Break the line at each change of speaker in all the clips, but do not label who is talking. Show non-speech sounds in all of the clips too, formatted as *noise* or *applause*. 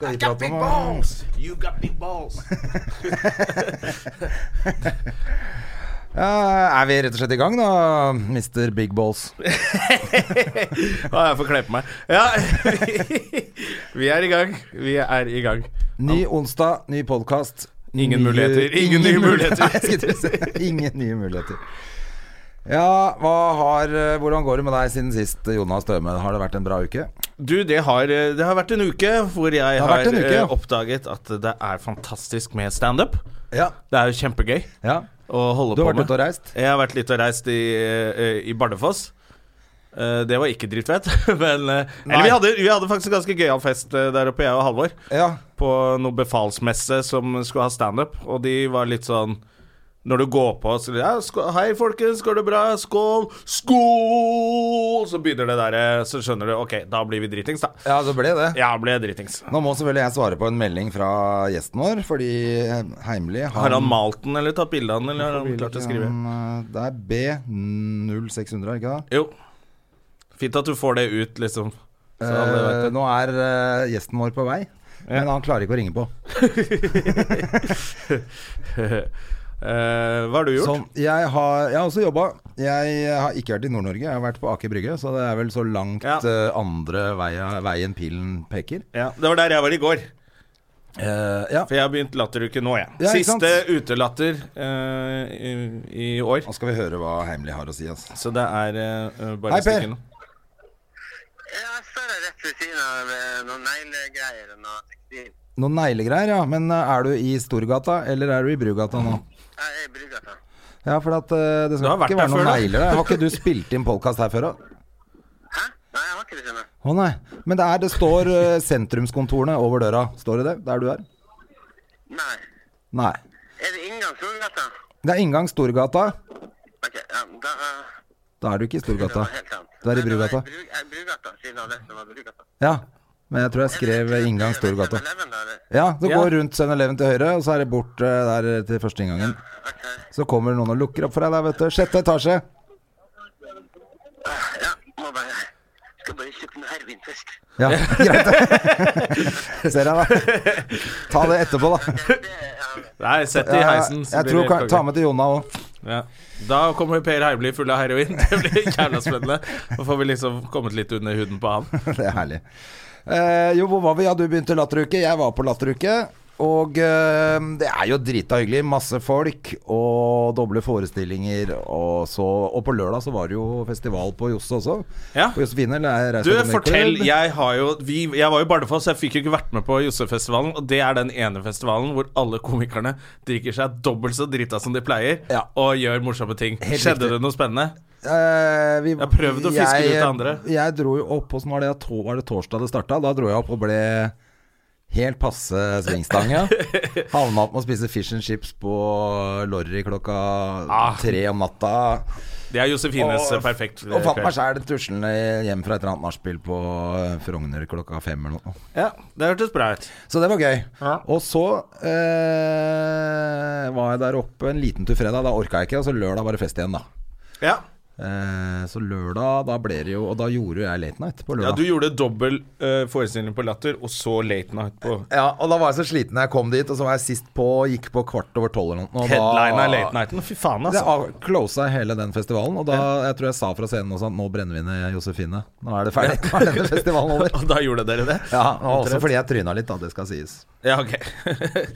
Skal vi prate om
You got big balls.
Ja, Er vi rett og slett i gang, da, Mr. Big Balls?
Ja, jeg får kle på meg. Ja, *laughs* vi, vi er i gang. Vi er i gang.
Ny onsdag, ny podkast.
Ingen muligheter. Ingen nye
*laughs*
muligheter.
Jeg skulle til å si, Ingen nye muligheter. Ja, hva har, eh, hvordan går det med deg siden sist, Jonas Støme? Har det vært en bra uke?
Du, det har, det har vært en uke hvor jeg
har
har,
vært en uke, ja.
eh, oppdaget at det er fantastisk med standup.
Ja.
Det er jo kjempegøy
ja.
å
Du
holde på
har vært
med.
ute og reist?
Jeg har vært litt og reist i, eh, i Bardufoss. Eh, Det var ikke dritfett, *laughs* men eh, Eller
Nei.
vi hadde, vi hadde faktisk en ganske gøyal fest eh, der oppe, jeg og Halvor.
Ja.
På noe befalsmesse som skulle ha standup, og de var litt sånn når du går på så, ja, skå- 'Hei, folkens, går det bra? Skål! Skål!' Så begynner det der, eh, så skjønner du 'Ok, da blir vi dritings', da.
ja, så ble det.
Ja, ble jeg dritings.
Nå må selvfølgelig jeg svare på en melding fra gjesten vår, fordi Heimli
Har han malt den, eller tatt bilde av den, eller har han
Vil
klart å
ikke
skrive?
han, eh, Det er B0600, ikke det?
Jo. Fint at du får det ut, liksom. Så alle vet det. *laughs*
Eh, nå er eh, gjesten vår på vei, men han klarer ikke å ringe på.
Eh, hva har du gjort?
Sånn, jeg, har, jeg har også jobba. Jeg har ikke vært i Nord-Norge, jeg har vært på Aker Brygge. Så det er vel så langt
Ja.
eh, andre veien, veien pilen peker.
Ja, det var der jeg var i går.
Eh, ja.
For jeg har begynt latteruke nå, jeg.
Ja, ikke sant?
Siste utelatter eh, i, i år.
Nå skal vi høre hva Heimli har å si. Altså.
Så det er eh, bare
Hei,
Hei,
Per.
Per.
Jeg står her rett ved siden av eh, noen neglegreier og noe tekstil.
Noen neglegreier, ja. Men eh, er du i Storgata, eller er du i Brugata nå?
Jeg er i Brugata.
Ja, for at, eh, det
Du
skal
har vært
ikke være
der
noen
før, da.
negler der. Har ikke du spilt inn podkast her før, da?
Hæ? Nei, jeg har ikke det, skjønner du.
Å nei. Men det, er, det står eh, sentrumskontorene over døra. Står det det? Der du er?
Nei.
Nei.
Er det inngang Storgata?
Det er inngang Storgata.
Ok, ja, da eh,
Da er du ikke i
det
Storgata.
var helt sant.
Du er i
Nei, det var
Brugata.
Bru- Jeg er i Brugata, siden av det som var Brugata.
Ja. Men jeg tror jeg skrev eh, inngang Storgata. Ja, du
Ja.
går rundt 7-Eleven til høyre, og så er det bort eh, der til første inngangen. Så kommer noen og lukker opp for deg der, vet du. Sjette etasje.
Ja, må bare... Skal bare kjøpe noe Ervin først.
*laughs*
Ja, greit. Ser jeg, da. Ta det etterpå, da.
Det er, ja,
Nei, sett det i
Jeg,
heisen. så
jeg
blir
tror
det
kan,
konge.
Ta med til Jonna òg.
Ja. Da kommer Per Heimli full av heroin. *laughs* Det blir jævla spennende. Da får vi liksom kommet litt under huden på han.
*laughs* Det er herlig. Eh, jo, hvor var vi? Ja, du begynte latteruke. Jeg var på latteruke. Og eh, det er jo drita hyggelig. Masse folk og doble forestillinger. Og, så, og på lørdag så var det jo festival på Josse også.
Ja.
På Josefine. eller jeg
Du,
reiste til
fortell.
Nikel.
Jeg, har jo, vi, jeg var jo i Bardufoss, jeg fikk jo ikke vært med på Josefestivalen. Og det er den ene festivalen hvor alle komikerne drikker seg dobbelt så drita som de pleier,
Ja.
og gjør morsomme ting.
Helt
Skjedde
riktig.
det noe spennende?
Eh, vi,
Jeg prøvde å fiske det ut av andre.
Jeg dro jo opp, og så var det, to- var det torsdag det starta. Da dro jeg opp og ble helt passe svingstang,
*laughs*
ja. Havna opp med å spise fish and chips på Lorry klokka
Ah.
tre om natta.
Det er Josefines
Og-
perfekt. eh,
Og fant meg sjæl tuslende hjem fra et eller annet nachspiel på eh, Frogner klokka fem eller noe.
Ja, det hørtes bra ut.
Så det var gøy.
Ja.
Og så eh, var jeg der oppe en liten tur fredag. Da orka jeg ikke, og så lørdag var det fest igjen, da.
Ja.
Eh, så lørdag, da ble det jo Og da gjorde jo jeg Late Night på
ja,
lørdag.
du gjorde dobbel eh, forestilling på Latter, og så Late Night på
Ja, og da var jeg så sliten da jeg kom dit, og så var jeg sist på gikk på kvart over tolv eller noe. og da-
Headline av Late Nighten. Fy faen,
Det
altså.
av- closa hele den festivalen, og da jeg tror jeg sa fra scenen også at nå brenner vi ned Josefine. Nå er det ferdig. Nå er denne festivalen over.
*laughs* Og da gjorde dere det?
Ja, og også fordi jeg tryna litt, da. Det skal sies.
Ja, ok. *laughs*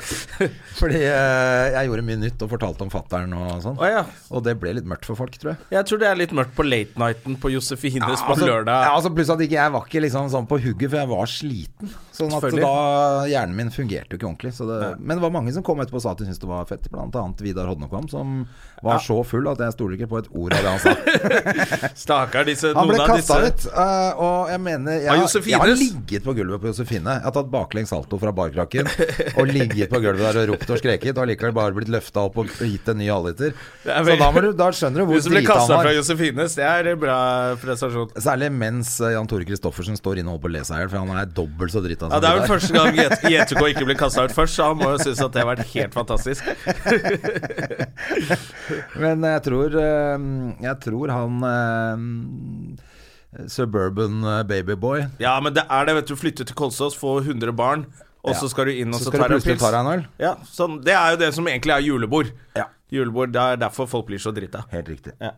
Fordi eh, jeg gjorde mye nytt og fortalte om fattern og sånn.
Å ja.
Og det ble litt mørkt for folk, tror jeg.
Jeg tror det er litt mørkt på Late Nighten på Josefines på
altså,
lørdag.
ja, altså pluss at ikke jeg var ikke liksom sånn på hugget, for jeg var sliten. Sånn at
Selvfølgelig.
da Hjernen min fungerte jo ikke ordentlig. Så det, men det var mange som kom etterpå og sa at de syntes det var fett. Blant annet Vidar Hodnekvam, som var så full at jeg stoler ikke på et ord av det han sa.
Stakkar, disse
Han ble
noen av disse
kasta ut, eh, og jeg mener jeg,
Av
har-
Josefines.
jeg har ligget på gulvet på Josefine. Jeg har tatt baklengs salto fra barkrakken og ligget på gulvet der og ropt og skreket, og allikevel bare blitt løfta opp og gitt en ny halvliter.
Det er
Så
veldig-
da, må du, da skjønner du
Du
hvor
som ble
drita
kasta
han
fra
var.
Josefines, det er en bra prestasjon.
Særlig mens eh, Jan Tore Kristoffersen står inne og holder på å le seg i hjel, for han er dobbelt så drita
Ja, Det er vel
Vidar.
første gang Jet- JTK ikke ble kasta ut først, så han må jo synes at det har vært helt fantastisk.
Men jeg tror, eh, jeg tror han eh, Suburban eh, babyboy
Ja, men det er det, vet du. Flytte til Kolsås, få 100 barn, og så skal du inn og
Så
så
skal
tar
du
du
plutselig
pils.
ta deg en øl.
Ja, sånn, det er jo det som egentlig er julebord.
Ja.
Julebord, Det er derfor folk blir så drita.
Helt riktig.
Ja.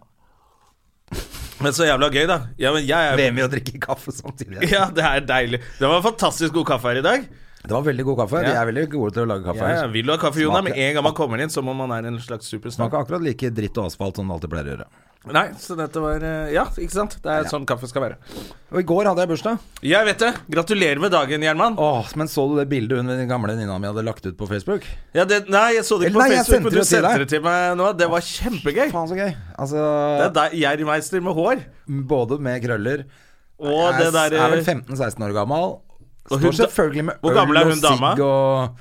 Men så jævla gøy, da. Ja, men jeg er
VM i å drikke kaffe samtidig.
*laughs* ja, det er deilig. Det var en fantastisk god kaffe her i dag.
Det var veldig god kaffe. De
Ja.
er veldig gode til å lage kaffe.
Ja, ja,
her
vil du ha kaffe, Jonah?
Smaker-
Med en gang man kommer inn, som om man er en slags superstar.
Smaker akkurat like dritt og asfalt som det alltid pleier å gjøre.
Nei, så dette var eh, Ja, ikke sant? Det er sånn kaffe skal være.
Og I går hadde jeg bursdag.
Jeg vet det! Gratulerer med dagen, Gjerman.
Åh, men så du det bildet hun den gamle nina mi hadde lagt ut på Facebook?
Ja, det, nei, jeg så det ikke
Eller
på
nei, jeg
Facebook,
sendte
men du
det til
sendte
deg.
det til meg nå. Det var kjempegøy.
Faen så gøy. Altså,
Det er deg, Gjermeister med hår.
både med krøller
Og det
er,
der
er vel
eh,
15-16 år gammel.
Og
Står
hun da-
selvfølgelig med
Hvor gammel er hun dama?
sigg og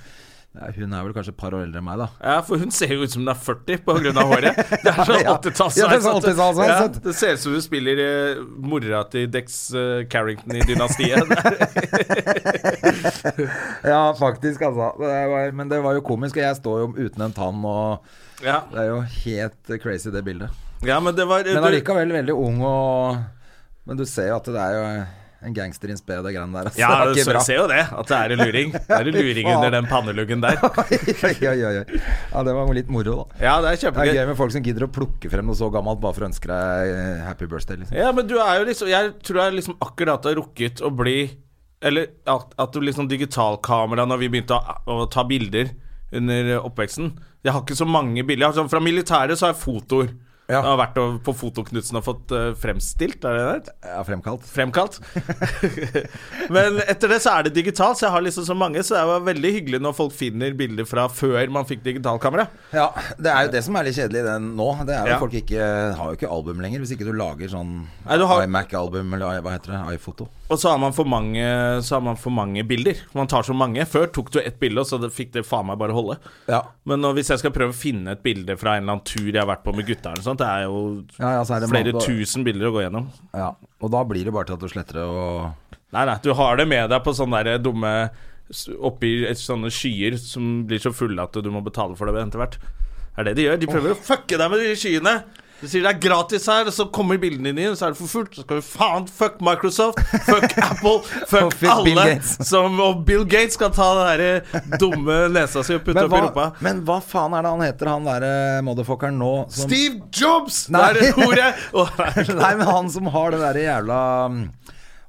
ja, Hun er vel kanskje et par år eldre enn meg, da.
Ja, for hun ser jo ut som hun er 40 på grunn av håret. Det er sånn
*laughs* Ja.
80-tallsveis.
Ja, det er sånn 80-tallsveis,
Ja,
sant?
det ser ut som hun spiller eh, mora til Dex eh, Carrington i Dynastiet.
*laughs* Ja, faktisk, altså. Det var, men det var jo komisk, og jeg står jo uten en tann, og
ja.
det er jo helt crazy, det bildet.
ja, men det var
Men allikevel veldig ung og Men du ser jo at det er jo en gangster in spe, det greiene der. altså.
Ja,
Det er
du
ikke bra.
ser jo det. At det er en luring. Det er en
*laughs*
luring
Faen.
under den panneluggen der.
*laughs* *laughs* Oi, oi, oi, oi. Ja, det var litt moro, da.
Ja, det
Det
er
er
kjempegøy.
gøy med folk som gidder å plukke frem noe så gammelt bare for å ønske deg eh, happy birthday. Liksom.
Ja, men du er jo liksom Jeg tror jeg liksom akkurat har rukket å bli Eller at, at du liksom digitalkamera Når vi begynte å, å ta bilder under oppveksten Jeg har ikke så mange bilder. Jeg har sånn- Fra militæret så har jeg fotoer.
Ja.
Jeg har vært og- på Fotoknutsen og fått eh, fremstilt, er det det heter?
Ja, fremkalt.
Fremkalt. Men etter det så er det digitalt, så jeg har liksom så mange. Så det var veldig hyggelig når folk finner bilder fra før man fikk digitalkamera.
Ja, det er jo det som er litt kjedelig i den nå. Det er jo
Ja.
at folk ikke, har jo ikke album lenger, hvis ikke du lager sånn
Nei, du har-
iMac-album, eller i- hva heter det, iPhoto.
Og så har man for mange, så har man for mange bilder. Man tar så mange. Før tok du ett bilde, og så det- fikk det faen meg bare holde.
Ja.
Men nå, hvis jeg skal prøve å finne et bilde fra en eller annen tur jeg har vært på med gutta, eller sånt, det er jo
Ja, ja, så er det
flere
mange-
tusen bilder å gå gjennom.
ja. Og da blir det bare til at du sletter det og
Nei, nei, du har det med deg på sånne der dumme s- Oppi et- sånne skyer som blir så fulle at du må betale for det etter hvert. Det er det de gjør. De prøver å fucke deg med de skyene. De sier det er gratis her, og så kommer bildene dine inn, så er det for fullt. Så skal vi faen fuck Microsoft,
*laughs*
fuck Apple,
Og
fuck
fuck Bill
alle.
Gates.
Som, og Bill Gates skal ta den der dumme nesa si og putte opp i
hva,
rumpa.
men hva faen er det han heter, han derre motherfuckeren nå som
Steve Jobs!
Nei.
Det er
*laughs*
ordet. Å,
Nei, men han som har det derre jævla mm,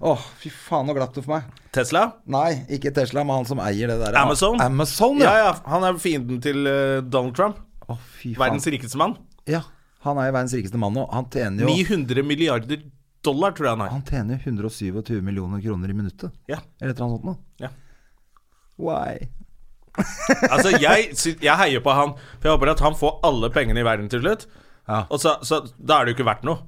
Åh, fy faen, nå glapp det for meg.
Tesla?
Nei, ikke Tesla, men han som eier det derre
Amazon?
Amazon,
Ja,
ja.
ja. Han er fienden til eh, Donald Trump.
Å, fy faen.
Verdens rikeste mann.
Ja, han er jo verdens rikeste mann nå. Han tjener jo
900 milliarder dollar, tror jeg han har.
Han tjener 127 millioner kroner i minuttet.
Ja.
Eller et eller annet sånt noe.
Ja.
Why?
Altså, jeg, sy- jeg heier på han, for jeg håper at han får alle pengene i verden til slutt.
Ja.
Og så, så da er det jo ikke verdt noe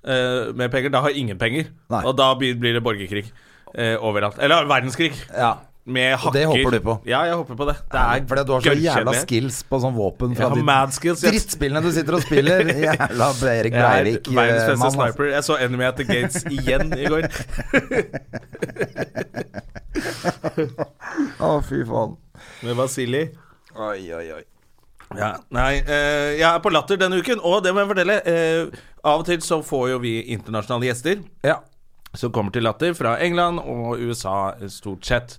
eh, med penger. Da har ingen penger.
Nei.
Og da blir, blir det borgerkrig eh, overalt. Eller verdenskrig.
Ja.
Med hakker.
det håper du på?
Ja, jeg håper på det. Det er
Fordi at du har så jævla
gørrkjedelig.
skills på sånn våpen
Jeg
fra
har mad skills, jeg-
drittspillene du sitter og
*laughs*
spiller. Jævla Erik
Jeg er
Breivik.
verdens
eh,
beste
mann, altså.
sniper. Jeg så Enemy at the Gates igjen i går. *laughs*
Å, fy faen.
Med Vasili.
Oi, oi, oi.
Ja, nei, eh, jeg er på latter denne uken, og det må jeg fortelle. eh, av og til så får jo vi internasjonale gjester
Ja.
som kommer til latter fra England og USA eh, stort sett.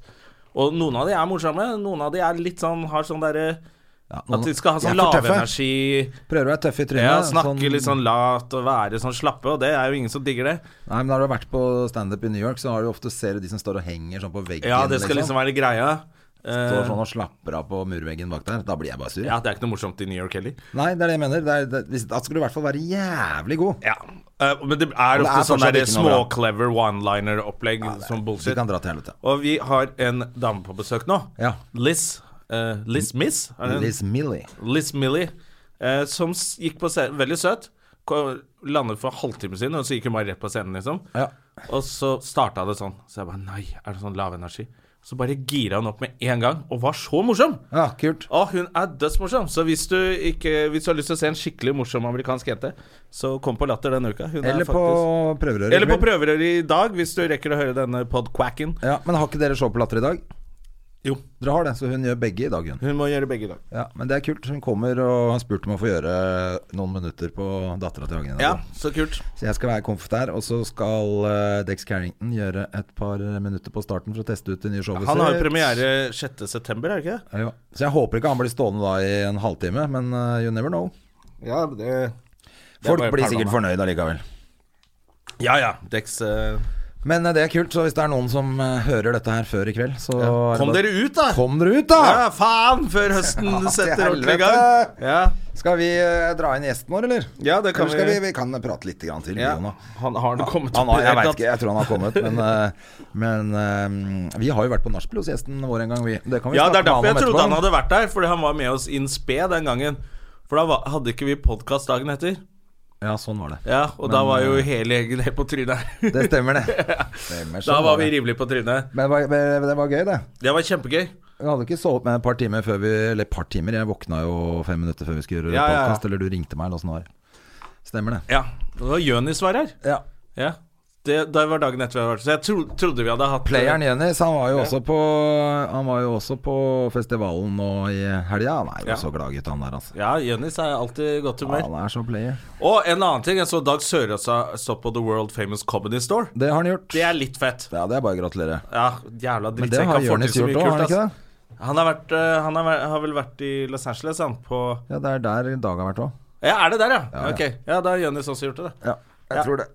Og noen av de er morsomme, noen av de er litt sånn, har sånn derre
noen-
At de skal ha
de er
sånn
for tøffe.
lavenergi,
Prøver å være tøff i trynet.
ja, snakke litt sånn lat og være sånn slappe, og det er jo ingen som digger det.
Nei, men Når du har vært på standup i New York, så har du ofte ser du de som står og henger sånn på veggen.
Ja, det skal liksom være greia.
Står sånn og slapper av på murveggen bak der. Da blir jeg bare sur.
Ja, det er ikke noe morsomt i New York heller.
Nei, det er det jeg mener. Det er, det, hvis- da skal du i hvert fall være jævlig god.
Ja. Eh, men det er
det
ofte
er
sånn
fortsatt
der
ikke noe bra.
små-clever one-liner-opplegg som
Du
bullshit.
kan dra til helvete.
Og vi har en dame på besøk nå.
Ja.
Liz. eh, Liz Miss? Er det en-
Liz Millie.
Liz Millie. eh, som s- gikk på scenen Veldig søt. Ko- Landet for halvtime siden, og så gikk hun bare rett på scenen, liksom.
Ja.
Og så starta det sånn. Så jeg bare Nei, er det sånn lav energi? Så bare gira hun opp med en gang, og var så morsom!
Ja, kult.
Å, hun er dødsmorsom! Så hvis du, ikke, hvis du har lyst til å se en skikkelig morsom amerikansk jente, så kom på Latter denne uka. Hun er
Eller på
faktisk-
prøverøret.
Eller på
vel?
prøverøret i dag, hvis du rekker å høre denne podquacken.
Ja, men har ikke dere show på Latter i dag?
Jo.
Dere har det, så hun gjør begge i dag, hun.
Hun må gjøre begge i dag.
Ja, men det er kult. Hun kommer og har spurt om å få gjøre noen minutter på dattera til Hagen. i dag.
Ja, så kult.
Så jeg skal være komf der, og så skal eh, Dex Carrington gjøre et par minutter på starten for å teste ut det nye showet
Han har jo
sitt.
premiere 6.9, er det ikke det?
Ja, jo. Så jeg håper ikke han blir stående da i en halvtime, men eh, you never know.
Ja, det
Folk
bare
blir
perlene.
sikkert fornøyd allikevel.
Ja ja. Dex eh,
Men eh, det er kult, så hvis det er noen som eh, hører dette her før i kveld, så er det
Kom
bare-
dere ut, da!
Kom dere ut, da!
Ja, faen! Før
*laughs*
høsten
Ja, til
setter ordentlig i gang.
helvete!
Ja.
Skal vi eh, dra inn gjesten vår, eller?
Ja, det kan
eller skal vi.
vi-
Vi kan prate litt grann til.
ja.
vi, Jonah.
Han har det kommet
Han har, jeg vet
opp i
ikke, jeg tror han har kommet, men, eh, men eh, vi har jo vært på nachspiel hos gjesten vår en gang, vi. Det kan vi
Ja, det er
snakke med
derfor jeg
om
trodde
etterpå.
han hadde vært der, fordi han var med oss in spe den gangen. For da var, hadde ikke vi podkast dagen etter.
Ja, sånn var det.
Ja, Og da var
eh,
jo hele gjengen helt på trynet.
Det stemmer,
*laughs*
det. Stemmer, *laughs*
da
sånn
var vi
det.
rimelig på trynet.
Men det var, men det var gøy, det.
Det var kjempegøy.
Vi hadde ikke sovet med et par timer før vi Eller et par timer, jeg våkna jo fem minutter før vi skulle gjøre
Ja, ja, ja.
podcast, eller du ringte meg, eller åssen det var. Stemmer det.
Ja. Det var Jonis var her.
Ja.
Ja. Det, det var dagen etter vi hadde vært Så jeg tro, trodde vi hadde hatt
Playeren Jønnis, han var jo også på Han var jo også på festivalen nå i helga. Han er jo
Ja.
så glad, gutt, han der, altså.
Ja, Jonis er alltid i godt humør.
Han er så player.
Og en annen ting, jeg så Dag Sørås har stått på The World Famous Comedy Store.
Det har han gjort.
Det er litt fett.
Ja, det er bare å gratulere.
Ja, jævla
Men det
drittsekk.
har
Han får til
Jonis
så mye
gjort òg, har han
kult,
ikke
ass.
det?
Han, har vært, eh, han har, væ- har vel vært i Los Angeles, han, på
Ja, det er der Dag har vært òg.
Ja, er det der, ja?
Ja, ja.
Ok. Ja, da har Jonis også gjort det, da.
Ja, jeg
Ja.
tror det.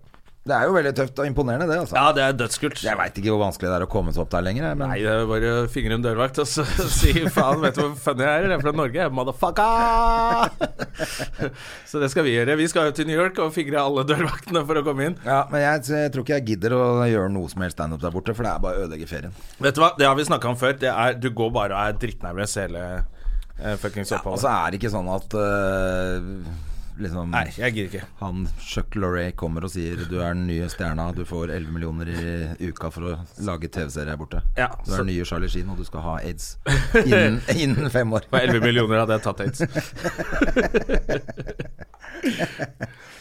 Det er jo veldig tøft og imponerende, det, altså.
Ja, det er dødskult.
Jeg veit ikke hvor vanskelig det er å komme seg opp der lenger, jeg, men
Nei, det er bare å fingre en dørvakt og så *laughs* si faen, vet du hvor funny jeg er? Jeg er fra Norge, jeg er motherfucker! *laughs* Så det skal vi gjøre. Vi skal jo til New York og fingre alle dørvaktene for å komme inn.
ja, men jeg, jeg tror ikke jeg gidder å gjøre noe som helst standup der borte, for det er bare å ødelegge ferien.
Vet du hva, det har vi snakka om før. Det er, du går bare og er drittnervøs hele eh, fuckings
Og
oppholdet.
så er det ikke sånn at øh, liksom
Nei, jeg gidder ikke.
han Chuck Lorray kommer og sier du er den nye stjerna, du får 11 millioner i uka for å lage TV-serie her borte.
Ja,
du er
så-
den nye Charlie Sheen, og du skal ha *laughs* aids innen, innen fem år.
For 11 millioner hadde jeg tatt aids. *laughs*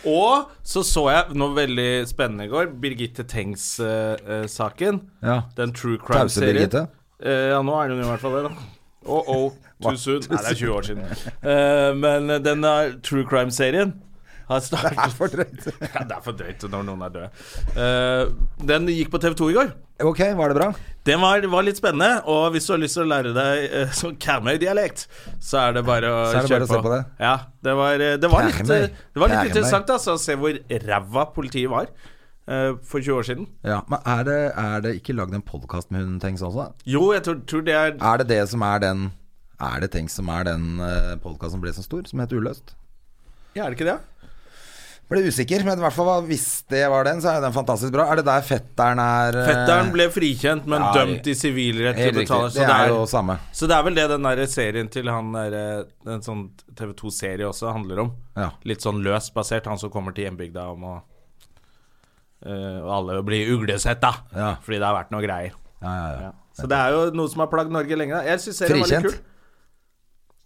og så så jeg noe veldig spennende i går. Birgitte eh, Tengs-saken.
Ja.
Den true
Tause
crime-serien.
Birgitte.
Eh, ja, nå er hun i hvert fall det, da. Oh,
*laughs*
oh, too soon. Nei, det er 20 år siden. Eh, men den er true crime-serien har
*laughs*
startet
Er for drøyt.
*laughs* ja, Det er for drøyt når noen er døde. Eh, den gikk på TV2 i går.
Ok, var det bra?
Den var, var litt spennende, og hvis du har lyst til å lære deg eh, *laughs* sånn Karmøy-dialekt, så er det bare å
Så er det bare
kjøre
å se på det.
Ja, det var, eh, det var litt,
Karmøy.
eh, det var litt
Karmøy.
interessant altså, å se hvor ræva politiet var eh, for 20 år siden.
Ja, Men er det, er det ikke lagd en podkast med hun Tengs også?
Jo, jeg tror, tror det er
Er det det som er den Er det Tengs som er den uh, podkasten som ble så stor, som heter Uløst?
Ja, er det ikke det?
Ble usikker, men i hvert fall var- hvis det var den, så er jo den fantastisk bra. Er det der fetteren er eh,
Fetteren ble frikjent, men
ja,
dømt i sivilrett til
Helt
å
riktig.
betale. Så
det er jo
det er,
samme.
så det er vel det den der serien til han der eh, En sånn TV2-serie også handler om.
Ja.
Litt sånn løst basert. Han som kommer til hjembygda om å eh, Og alle blir uglesett, da.
Ja.
Fordi det har vært noe greier.
Ja, ja, ja.
Så det er jo noe som har plagd Norge lenge. da. Jeg synes serien var litt
Frikjent.
kul.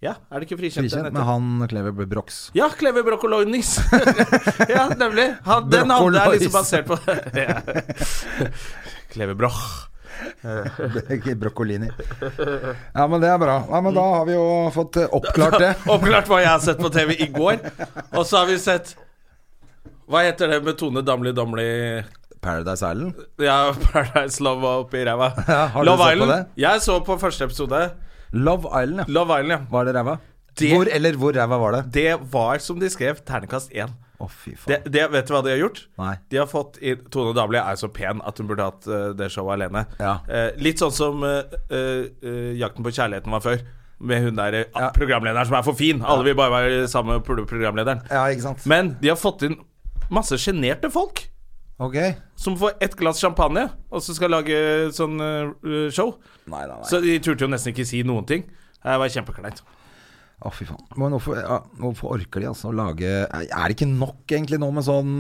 Ja, er det ikke frikjent? den
Frikjent
heter?
med han Clever Brox. *laughs*
Ja, Kleve Broccoloinis. *laughs* ja, nemlig. Han, den hadde jeg liksom basert på. *laughs* Ja. Kleve Broch.
Ikke Broccolini. Ja, men det er bra. Ja, men da har vi jo fått eh, oppklart
*laughs*
det.
Oppklart hva jeg har sett på TV i går. Og så har vi sett Hva heter det med Tone Damli Damli
Paradise Island.
Ja, Paradise Love var oppi ræva.
Ja, har du
Love
sett på
Island.
det?
Jeg så på første episode.
Love Island, ja.
Love Island, ja.
Var det ræva?
Det-
Hvor eller hvor ræva var det?
Det var som de skrev, ternekast én.
Å Å, fy faen.
Det, det, vet du hva de har gjort?
Nei.
De har fått i, Tone Damli er så pen at hun burde hatt eh, det showet alene.
Ja.
Eh, litt sånn som eh, eh, eh, Jakten på kjærligheten var før. Med hun der eh, programlederen som er for fin. Alle vil bare være sammen med pro- programlederen.
Ja, ikke sant.
Men de har fått inn masse sjenerte folk
Ok.
som får ett glass champagne, og så skal lage sånn eh, show.
Nei, nei, nei.
Så de turte jo nesten ikke si noen ting. Det var kjempekleint.
Å, fy faen. Men hvorfor, ja, hvorfor orker de altså å lage Er det ikke nok egentlig nå med sånn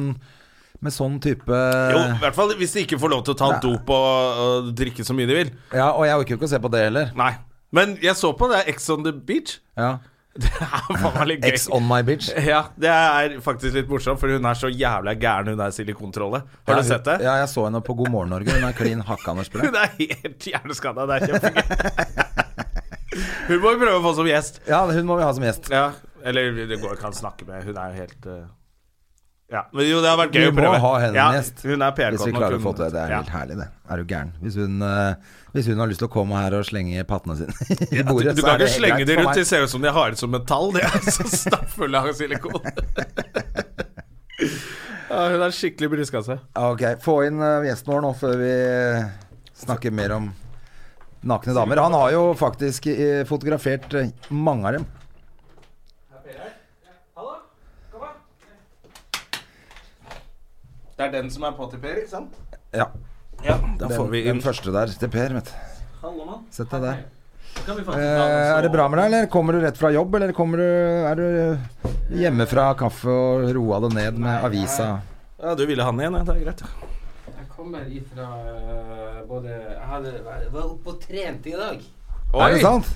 Med sånn type
Jo, i hvert fall hvis de ikke får lov til å ta dop og, og drikke så mye de vil.
Ja, og jeg orker jo ikke å se på det heller.
Nei. Men jeg så på det er Ex on the beach.
Ja.
*laughs* Det er faen litt gøy.
X on my bitch.
Ja, det er faktisk litt morsomt, for hun er så jævla gæren, hun der silikontrolle. Har
Ja,
du sett det?
Ja, jeg så henne på God morgen Norge. Hun er klin hakkande sprø.
*laughs* Hun er helt hjerneskada. Det er kjempegøy. *laughs* Hun må vi prøve å få som gjest.
Ja, hun må vi ha som gjest.
Ja, Eller det går ikke an å snakke med. Hun er jo helt eh, Ja, men jo, det har vært gøy
Vi
å
må
prøve.
ha henne
ja,
gjest.
Hun er PR-kåt
Hvis vi klarer å få til det. Det er helt herlig, det. Er du gæren. Hvis hun, eh, hvis hun har lyst til å komme her og slenge pattene sine *laughs* i bordet,
Du kan ikke slenge
greit
de
for
rundt,
meg.
de ser ut som de har det som metall. De er så stappfulle av *laughs* silikon. Ja, hun er skikkelig bryska seg.
Ok, få inn eh, gjesten vår nå før vi eh, snakker mer om nakne damer. Han har jo faktisk eh, fotografert eh, mange av dem.
Det er den som er pottyper, ikke sant?
Ja,
Ja, da
den,
får vi
den
inn
første der til Per, vet du.
Hallo, mann.
Sett deg der.
Kan vi faktisk
Eh,
ta den så-
er det bra med deg, eller kommer du rett fra jobb, eller kommer du, er du hjemme fra kaffe og roa det ned med avisa?
Ja, du ville han igjen, ja. Det er greit. ja.
Jeg kommer ifra eh, både Jeg hadde, jeg var oppe og trente i dag.
Oi!
Er det sant?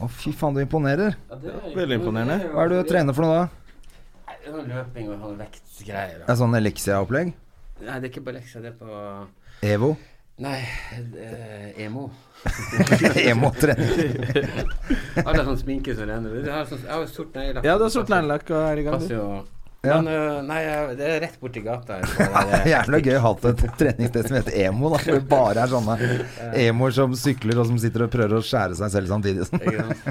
Å, fy faen, du imponerer.
Ja, det er-
Veldig imponerende.
det jo-
Hva er det du trener for noe, da?
Nei, det er noe Løping og sånn vektgreier.
Det er sånn Elixia-opplegg?
og- Nei, det er ikke bare lekser, det er på
Evo? *laughs*
Nei, det er emo.
Emo-trening.
Alle har sånn sminke som renner. Det har sånn, jeg har sort neglelakk.
Ja, du har sort neglelakk og er i gang.
Passer
du.
jo.
Ja.
Men eh, nei, jeg- det er rett borti gata. her, så
Det *laughs*
det er-
er jævla gøy å ha et treningssted som heter emo, da. Hvor det bare er sånne emoer som sykler og som sitter og prøver å skjære seg selv samtidig. Sånn.
Ikke *laughs* sant?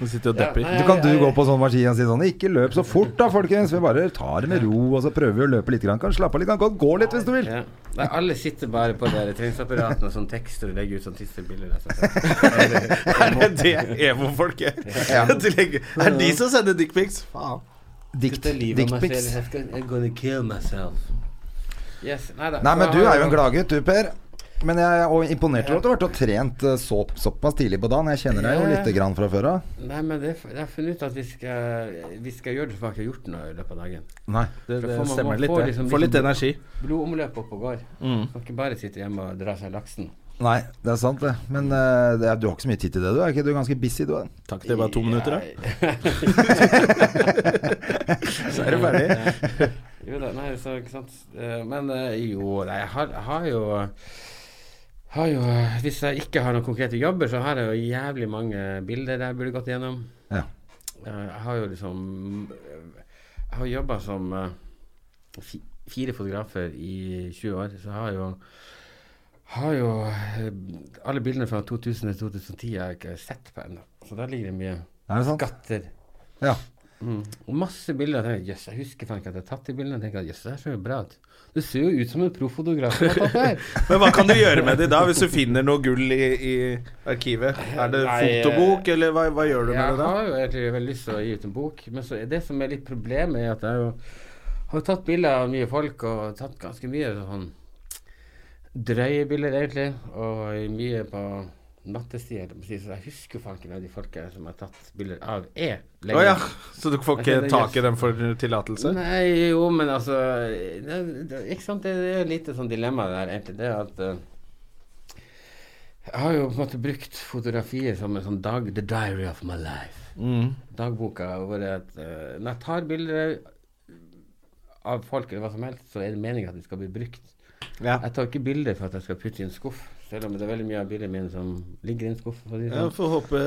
Du sitter og
Ja,
depper.
nei,
Du kan du gå på sånn maskin og si sånn Ikke løp så fort da, folkens. Vi bare tar det med ro, og så prøver vi å løpe litt. Grann. Kan slappe av litt. Kan godt gå litt hvis du vil.
Ja. Nei, alle sitter bare på de der treningsapparatene og sånn tekst og legger ut sånn tissebilder. og sånt. *laughs*
Er det det emo-folket
Ja.
*laughs* De legger- Er de som sender dickpics? Faen.
Dikt,
Kutte livet av meg
diktpics.
selv. Jeg skal- I'm gonna kill myself. Yes, nei da.
Nei, men
Så
du
jeg har
er jo
jo-
en gladgutt, du, Per. Men jeg er også imponert over at du har vært og trent eh, så, såpass tidlig på dagen. Jeg kjenner deg jo lite grann fra før av.
Nei, men det, jeg har funnet ut at vi skal, vi skal gjøre det for jeg har ikke gjort noe i løpet av dagen.
Nei.
Det,
For
det
får man-
stemmer
man
litt,
får
det.
liksom
Får litt
liksom-
energi.
Blodomløpet oppe og går.
Mm.
Kan ikke bare sitte hjemme og dra seg laksen.
Nei, det er sant, det. Men eh, det er, du har ikke så mye tid til det, du. Er ikke du ganske busy, du? Er.
Takk, det var to minutter, da.
Så er du
*laughs*
ferdig. *laughs* jo da, nei, så ikke sant. Eh, Men eh, jo, nei, jeg har, jeg har jo har jo, eh, Hvis jeg ikke har noen konkrete jobber, så har jeg jo jævlig mange bilder jeg burde gått gjennom.
Ja.
Eh, Jeg har jo liksom eh, Jeg har jobba som eh, fi- fire fotografer i 20 år, så jeg har jo har jo eh, alle bildene fra 2000 til 2010 har jeg ikke sett på ennå. Så der ligger det mye
Er det sant?
skatter.
Ja.
Mm. Og masse bilder. Jeg tenker, jøss, jeg husker faen ikke at jeg har tatt de bildene. Jeg tenker, jøss, det her ser jo bra ut. Det ser jo ut som en proff fotograf som har tatt det her.
Men hva kan du gjøre med de da, hvis du finner noe gull i, i arkivet? Er det
Nei, eh,
fotobok, eller hva, hva gjør du med
Jeg
det da?
har jo egentlig veldig lyst til å gi ut en bok, men så er det som er litt problemet, er at jeg jo har jo tatt bilder av mye folk, og tatt ganske mye sånn drøye bilder, egentlig, og mye på nattestid, holdt jeg på å si, så jeg husker jo faen ikke hvem de folka som jeg har tatt bilder av, er
Å ja, så du får
Jeg
ikke
kjenner
tak i
yes.
den for tillatelse?
Nei, jo, men altså det, det, Ikke sant, det, det er et lite sånn dilemma der, egentlig. Det er at eh, Jeg har jo på en måte brukt fotografier som en sånn dag, The diary of my life. Dagboka hvor jeg, at, eh, Når jeg tar bilder av folk eller hva som helst, så er det meningen at de skal bli brukt.
Ja.
Jeg tar ikke bilder for at jeg skal putte i en skuff, selv om det er veldig mye av bildene mine som ligger i en skuff. For å si det
Jeg
sånn.
får håpe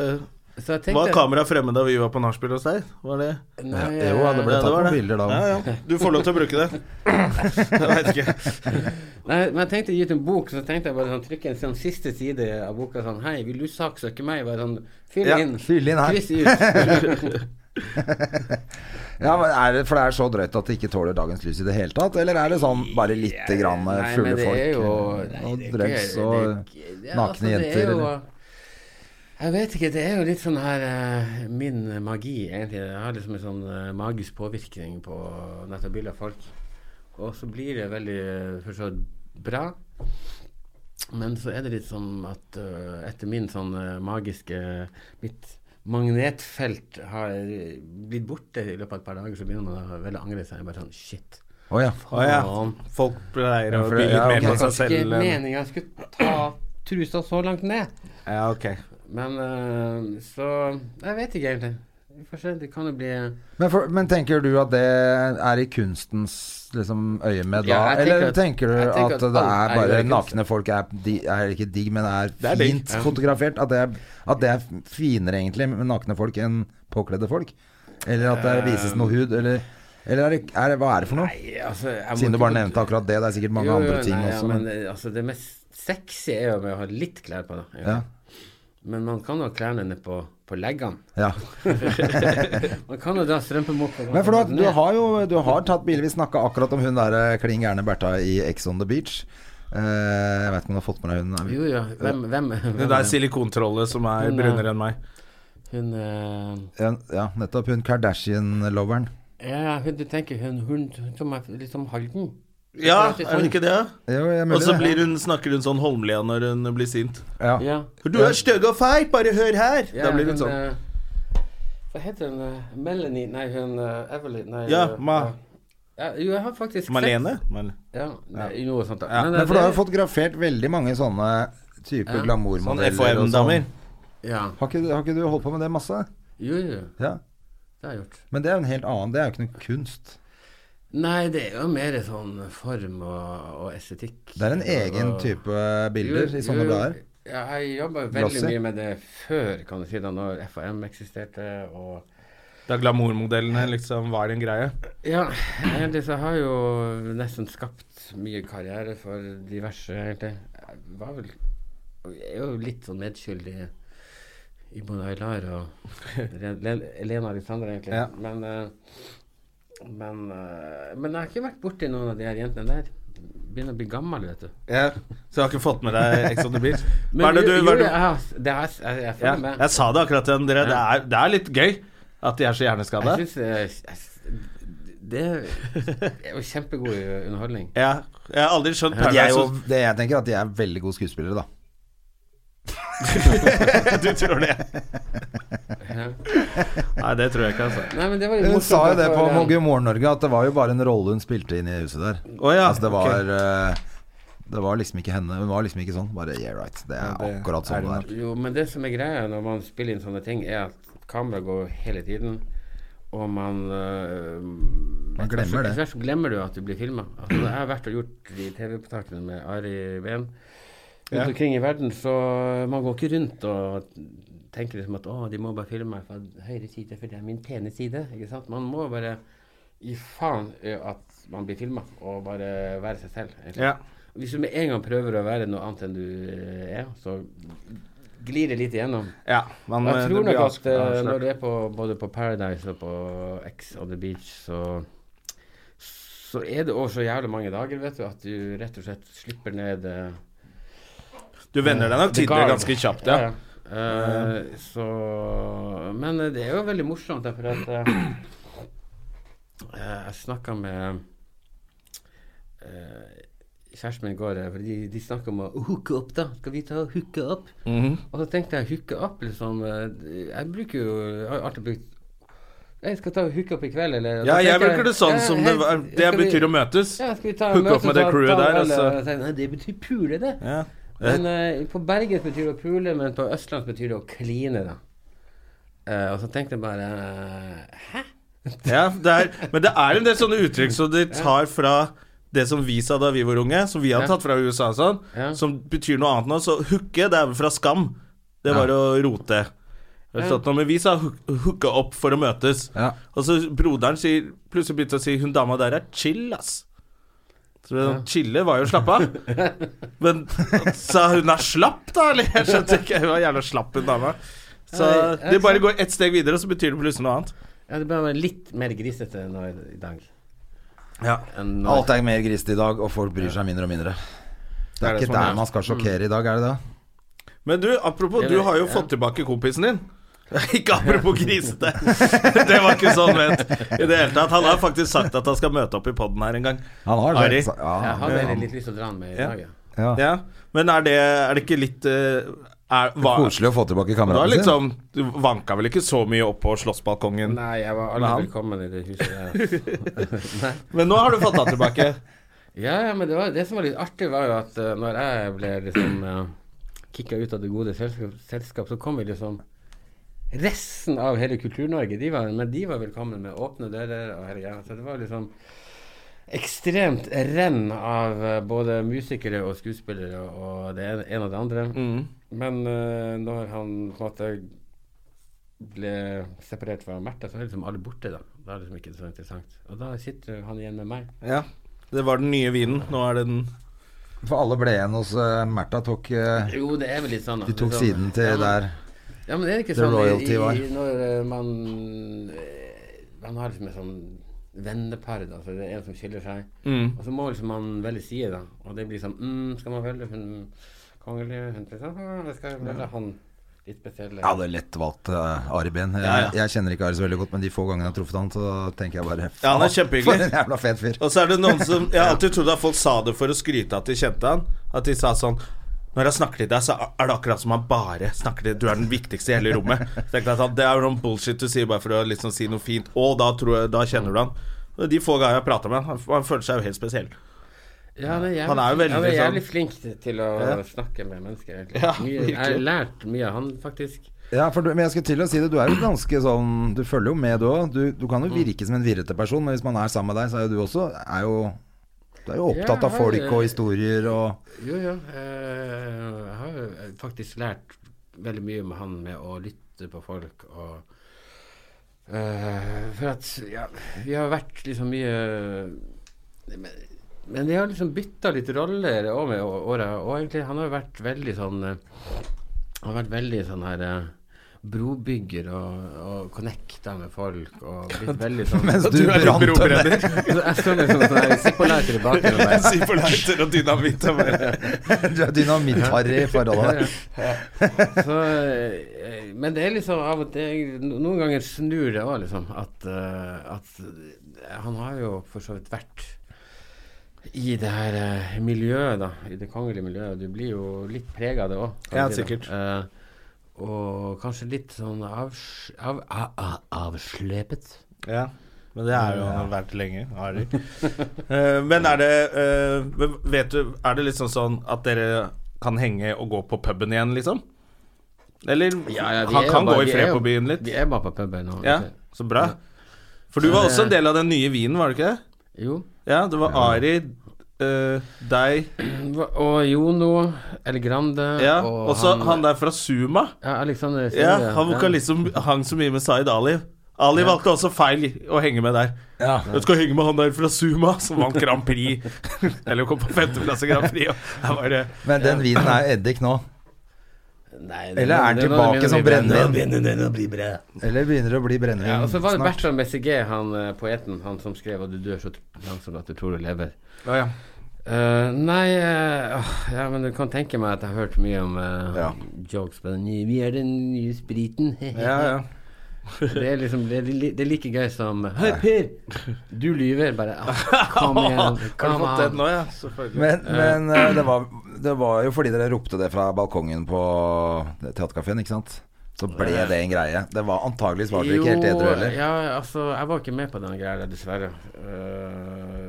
Så jeg
Var
tenkte
kameraet fremme da vi var på nachspiel hos deg? Var det
Nei,
Jo, ja, det ble
Ja,
tatt
var
noen bilder da.
Ja, ja. Du får lov til å bruke det. Jeg vet ikke.
Nei, men jeg tenkte å gi ut en bok, så tenkte jeg bare sånn, trykke en sånn siste side av boka sånn Hei, vil du saksøke meg? Bare sånn, fyll
Ja,
inn.
fyll inn her.
Kryss ut.
Ja, men er det, For det er så drøyt at det ikke tåler dagens lys i det hele tatt? Eller er det sånn bare lite grann eh,
Nei,
fulle
men det
folk
er jo,
eh,
nei, det
og
er
drugs
ikke-
og
det er ikke- ja, altså,
nakne
det er
jenter?
jo-
eller?
Jeg vet ikke, det er jo litt sånn her eh, Min magi, egentlig. Jeg har liksom en sånn eh, magisk påvirkning på nettopp bildet av folk. Og så blir det veldig eh, for så vidt bra. Men så er det litt sånn at eh, etter min sånn eh, magiske Mitt magnetfelt har eh, blitt borte i løpet av et par dager, så begynner man å veldig angre seg. Bare sånn shit.
Å ja.
Å ja.
faen.
Folk pleier
Ja,
å
for det-
bli litt
ja,
mer
ok.
på seg
Det er ikke
selv. eh, enn-
meninga jeg skulle ta trusa så langt ned.
Ja, ok.
Men eh, så Jeg vet ikke egentlig. Vi får se. Det kan jo bli eh,
Men, for, men tenker du at det er i kunstens liksom, øyemed da?
Ja, jeg tenker
Eller
at-
tenker du
jeg tenker
at,
at
det er
alt er jo
bare
i kunst.
nakne folk er, de, er ikke digg, men er
er digg,
fint fotografert? At det er, at det er finere egentlig med nakne folk enn påkledde folk? Eller at det vises noe hud? Eller, eller er det, er det, hva er det for noe?
Nei, altså jeg må
Siden du bare
ikke-
nevnte akkurat det, det er sikkert mange
Jo, jo,
andre ting
nei,
også.
Ja, men
men,
eh, altså, det mest sexy er jo med å ha litt klær på, da. egentlig.
Ja.
Men man kan jo ha klærne ned på, på leggene.
ja.
Man kan jo dra strømpemokka
men for du, har- du har jo du har tatt bil. Vi snakka akkurat om hun der eh, klin gærne Bertha i Ex on the Beach. Eh, jeg vet ikke om du har fått med deg hun?
Jo, jo. Hvem, hvem, hvem
Det der silikontrollet som er
Men, eh,
brunere enn meg.
Hun eh,
Ja, ja nettopp. Hun Kardashian-loveren.
Ja, hun, du tenker hun, hun, hun som er liksom litt som Halden?
Ja, er
sånn.
det ikke det?
Jo, jeg
Og så blir hun, snakker hun sånn Holmlia når hun blir sint.
ja.
Ja.
Du er stygg og feit, bare hør her!
ja
da blir hun sånn.
eh, Hva heter hun? eh, Melanie Nei, hun eh, Evelyn Nei.
Ja,
eh,
Ma-
ja, jo, jeg har faktisk
Malene? Mal-
sett Ja, nei, noe sånt. da.
Men
det-
for du har jo
det-
fotografert veldig mange sånne type
Sånn
glamourmodeller. og sånn.
FHM-damer.
Ja.
Har, ikke- har ikke du holdt på med det masse?
Jo, jo. jo,
Ja.
Det har jeg gjort.
Men det er jo en helt annen Det er jo ikke noe kunst.
Nei, det er jo mer sånn form og, og estetikk.
Det er en egen
Og-
type
Jo,
bilder i sånne
jo,
blader.
Ja, jeg jobba veldig
Glossy.
mye med det før, kan du si, da når FAM eksisterte og
Da glamourmodellene liksom var en greie.
Ja, egentlig så har jeg jo nesten skapt mye karriere for diverse, egentlig. Jeg var vel Jeg er jo litt sånn medskyldig i både Aylar og Re- Le- Elena Alexander, egentlig.
Ja.
Men, eh, men, eh, men jeg har ikke vært borti noen av de her jentene der. Begynner å bli gammel, vet du.
Så jeg har ikke fått med deg Ex on the Beach. Hva
Men
er det du,
jo-
hva er
jo,
det
jeg,
du
har- det har jeg, jeg, jeg
ja,
følger med.
Jeg sa det akkurat til dere. Det er, det er litt gøy at de er så hjerneskada.
Jeg syns det er jo kjempegod underholdning.
Ja, jeg har aldri skjønt
De er jo,
Paradise
det jeg tenker at de er veldig gode skuespillere, da.
Hotel. *laughs* Du *laughs* tror det? Nei, det tror jeg ikke, altså.
Nei, men det var
Hun
morsomt,
sa jo det
for,
på
eh,
Mogge Morgen Norge, at det var jo bare en rolle hun spilte inn i huset der.
Å ja,
altså, det var
ok.
eh, Det var liksom ikke henne. Hun var liksom ikke sånn. Bare yeah right. Det er
det
akkurat
er
sånn det
hun
er.
Jo, men det som er greia når man spiller inn sånne ting, er at kameraet går hele tiden, og man øh,
Man glemmer det.
Etter hvert så glemmer du at du blir filma. Altså, når jeg har vært og gjort de TV-opptakene med Ari Behn rundt omkring i verden, så øh, man går ikke rundt og tenker liksom at å, de må bare filme meg fra høyre side, for det er min pene side. Ikke sant? Man må bare gi faen i at man blir filma, og bare være seg selv. egentlig.
Ja.
Hvis du med en gang prøver å være noe annet enn du eh, er, så glir det litt igjennom.
ja man,
Jeg
det
tror
blir
nok at eh,
avslørt.
når du er på, både på Paradise og på X on the Beach, så så er det også så jævlig mange dager vet du, at du rett og slett slipper ned eh,
Du venner deg nok
the
til det
guard.
ganske kjapt, ja.
Eh, så Men eh, det er jo veldig morsomt, for at eh, eh, Jeg snakka med eh, kjæresten min i går, eh, for de, de snakka om å hooke opp, da. Skal vi ta og hooke opp?
Mhm.
Og så tenkte jeg hooke opp, liksom eh, Jeg bruker jo Jeg har alltid brukt jeg skal ta og hooke opp i kveld, eller og
Ja,
da
jeg
tenker
bruker det sånn
ja,
som
helt-
det var Det
skal vi-
betyr å møtes.
ja, skal vi ta
Hooke
møte,
opp med det
ta-
crewet
ta
der, altså.
en
og så-
øl, og tenke, Nei, det betyr pule, det.
Ja.
Men eh, på Bergen betyr det å pule, men på Østlands betyr det å kline, da. Eh, og så tenkte jeg bare eh, Hæ?
Ja, det er, men det er en del sånne uttrykk som de tar fra det som vi sa da vi var unge, som vi har tatt fra USA og sånn,
Ja.
som betyr noe annet nå. Så hooke, det er vel fra skam. Det var å rote. Eller sånt noe, Men vi sa hook- hooke opp for å møtes.
Ja.
Og så broderen sier, plutselig begynte å si hun dama der er chill, ass. Så det, sånn, Chille var jo slapp av. Men sa hun er slapp, da? Eller jeg skjønte ikke. Hun var jævla slapp, hun dama. Så
Nei, ja,
det bare
sant.
går ett steg videre, og så betyr det plutselig noe annet.
Ja, Ja, det ble litt mer grisete nå i i dag.
Ja.
enn når-
Alt er mer grisete i dag, og folk bryr seg mindre og mindre. Det er
det Mm.
ikke
som er.
der man skal sjokkere i dag, er det det?
Men du, apropos,
Det
du
vet
har jo
jeg.
fått tilbake kompisen din. *laughs* Ikke apropos grisete. *laughs* Det var ikke sånn ment i det hele tatt. Han har faktisk sagt at han skal møte opp i poden her en gang.
Han har det.
Ari.
Så-
Jeg
Ja.
hadde egentlig litt lyst til å dra den med i
Ja.
dag, ja.
Ja.
Ja. Men er det, er det ikke litt eh, er, hva,
Koselig å få tilbake
Du har
kameraten sin.
liksom Du vanka vel ikke så mye opp på slåssbalkongen?
Nei, jeg
Med
var aldri
han?
velkommen i det huset der.
Men nå har du fått han tilbake.
Ja, ja, men det, var, det som var litt artig, var jo at eh, når jeg ble liksom uh, kicka ut av det gode selskap, selskap så kom vi liksom Resten av hele Kultur-Norge, de var, men de var velkommen med åpne dører og hele greia. Så det var liksom ekstremt renn av eh, både musikere og skuespillere og det ene ene og det andre.
Mm.
Men eh, når han på en måte ble separert fra Märtha, så er liksom alle borte, da. Da er det liksom ikke så interessant. Og da sitter han igjen med meg.
Ja. Det var den nye vinen. Nå er det den
For alle ble igjen hos eh, Märtha. Tok, eh,
Jo, det er vel litt sånn da.
de tok
Litt sånn-
siden til
ja, men-
der.
Ja, men er det ikke
The
sånn i,
royalty var.
i, når eh, man eh, Man har liksom et sånn vennepar, da, så det er en som skiller seg.
Mm.
Og så må liksom man velge side, da. Og det blir sånn mm, Skal man velge hun kongelige hun liksom? «Hm, Jeg skal velge han litt spesielle.
Jeg hadde lett valgt eh, Ari Behn. Jeg,
Ja, ja.
jeg kjenner ikke Ari så veldig godt, men de få gangene jeg har truffet han, så tenker jeg bare
Ja, han er
"Faen,
kjempehyggelig."
For en jævla fet fyr.
Og så er det noen *laughs* som Jeg har alltid trodd at folk sa det for å skryte at de kjente han. At de sa sånn Når jeg snakker til deg, så er det akkurat som han bare snakker til Du er den viktigste i hele *laughs* rommet. Så tenkte jeg sånn, Det er jo noen bullshit du sier bare for å liksom si noe fint. Og da, tror jeg, da kjenner du han. Og De få ganger jeg prater med han, han føler seg jo helt *laughs* spesiell.
Ja, han er jævlig,
Han er jo veldig
han er
sånn-
jævlig flink til- til å snakke med mennesker, egentlig.
Ja,
mye, jeg har
virkelig.
lært mye av han, faktisk.
Ja, for du, men jeg skulle til å si det. Du er jo ganske sånn Du følger jo med, du òg. Du, du kan jo virke som en virrete person, men hvis man er sammen med deg, så er jo du også er jo, Du er jo opptatt
Ja,
av folk
jeg-
og historier og
Jo, ja. eh, Jeg har jo faktisk lært veldig mye med han med å lytte på folk og eh, For at ja, vi har vært liksom mye Men, men vi har liksom bytta litt roller òg med å- åra. Og egentlig, han har jo vært veldig sånn eh, Han har vært veldig sånn her eh, Brobygger og, og connecta med folk og blitt veldig sånn
Mens du,
Du er en
brant
brobredder.
*laughs* Jeg står liksom sånn her zippo-lighter i bakgrunnen. bare.
Sipoliter og dynamitt og bare
*laughs* Du er dynamitt-harry i forholdet der.
Så, eh, men det er liksom av og til no- Noen ganger snur det òg, liksom. At, eh, at han har jo for så vidt vært i det her eh, miljøet, da. I det kongelige miljøet. Du blir jo litt prega av det òg.
Ja, sikkert.
Eh, og kanskje litt sånn avs av, a- a- avslepet.
Ja, men det er jo han har vært lenge, Ari. *laughs* Eh, men er det eh, men Vet du, er det liksom sånn at dere kan henge og gå på puben igjen, liksom? Eller han kan gå i fred på byen litt?
Vi er bare på puben nå.
Ja, så bra. For du var også en del av den nye vinen, var du ikke det?
Jo.
Ja, det var Ari, eh, deg
Og Jono El Grande
Ja, og så han der fra Suma.
Ja, Alexander
Ja,
Sørøe,
han vokalisten hang så mye med Zaid Ali. Ali valgte også feil å henge med der.
Ja.
Jeg skal henge med han der fra Suma, som vant Grand Prix. *laughs* Eller kom på femteplass i Grand Prix. Og der var det
Men den vinen er eddik nå.
Nei, det
Eller
var-
er den
det var
tilbake
det
som
mye bedre.
brennevin? Eller begynner det å bli brennevin
Ja, og så var det
snart?
Bertrand Bessegé, han eh, poeten, han som skrev at du dør så langsomt at du tror du lever.
ja, ja.
Eh, nei eh, åh, Ja, men du kan tenke meg at jeg har hørt mye om eh,
Ja.
jokes på den nye Vi er den nye spriten. *laughs*
ja, ja.
Det er liksom det er, li- det er like gøy som Hei, Per! Du lyver. Bare ah, Kom igjen.
Har du
Kom
fått den
an.
nå, ja? Selvfølgelig.
Men, men eh, det, var, det var jo fordi dere ropte det fra balkongen på Theatercaféen, ikke sant? Så ble det en greie. Det var antageligvis var dere ikke helt edru heller.
ja, altså, jeg var ikke med på den greia der, dessverre. Eh,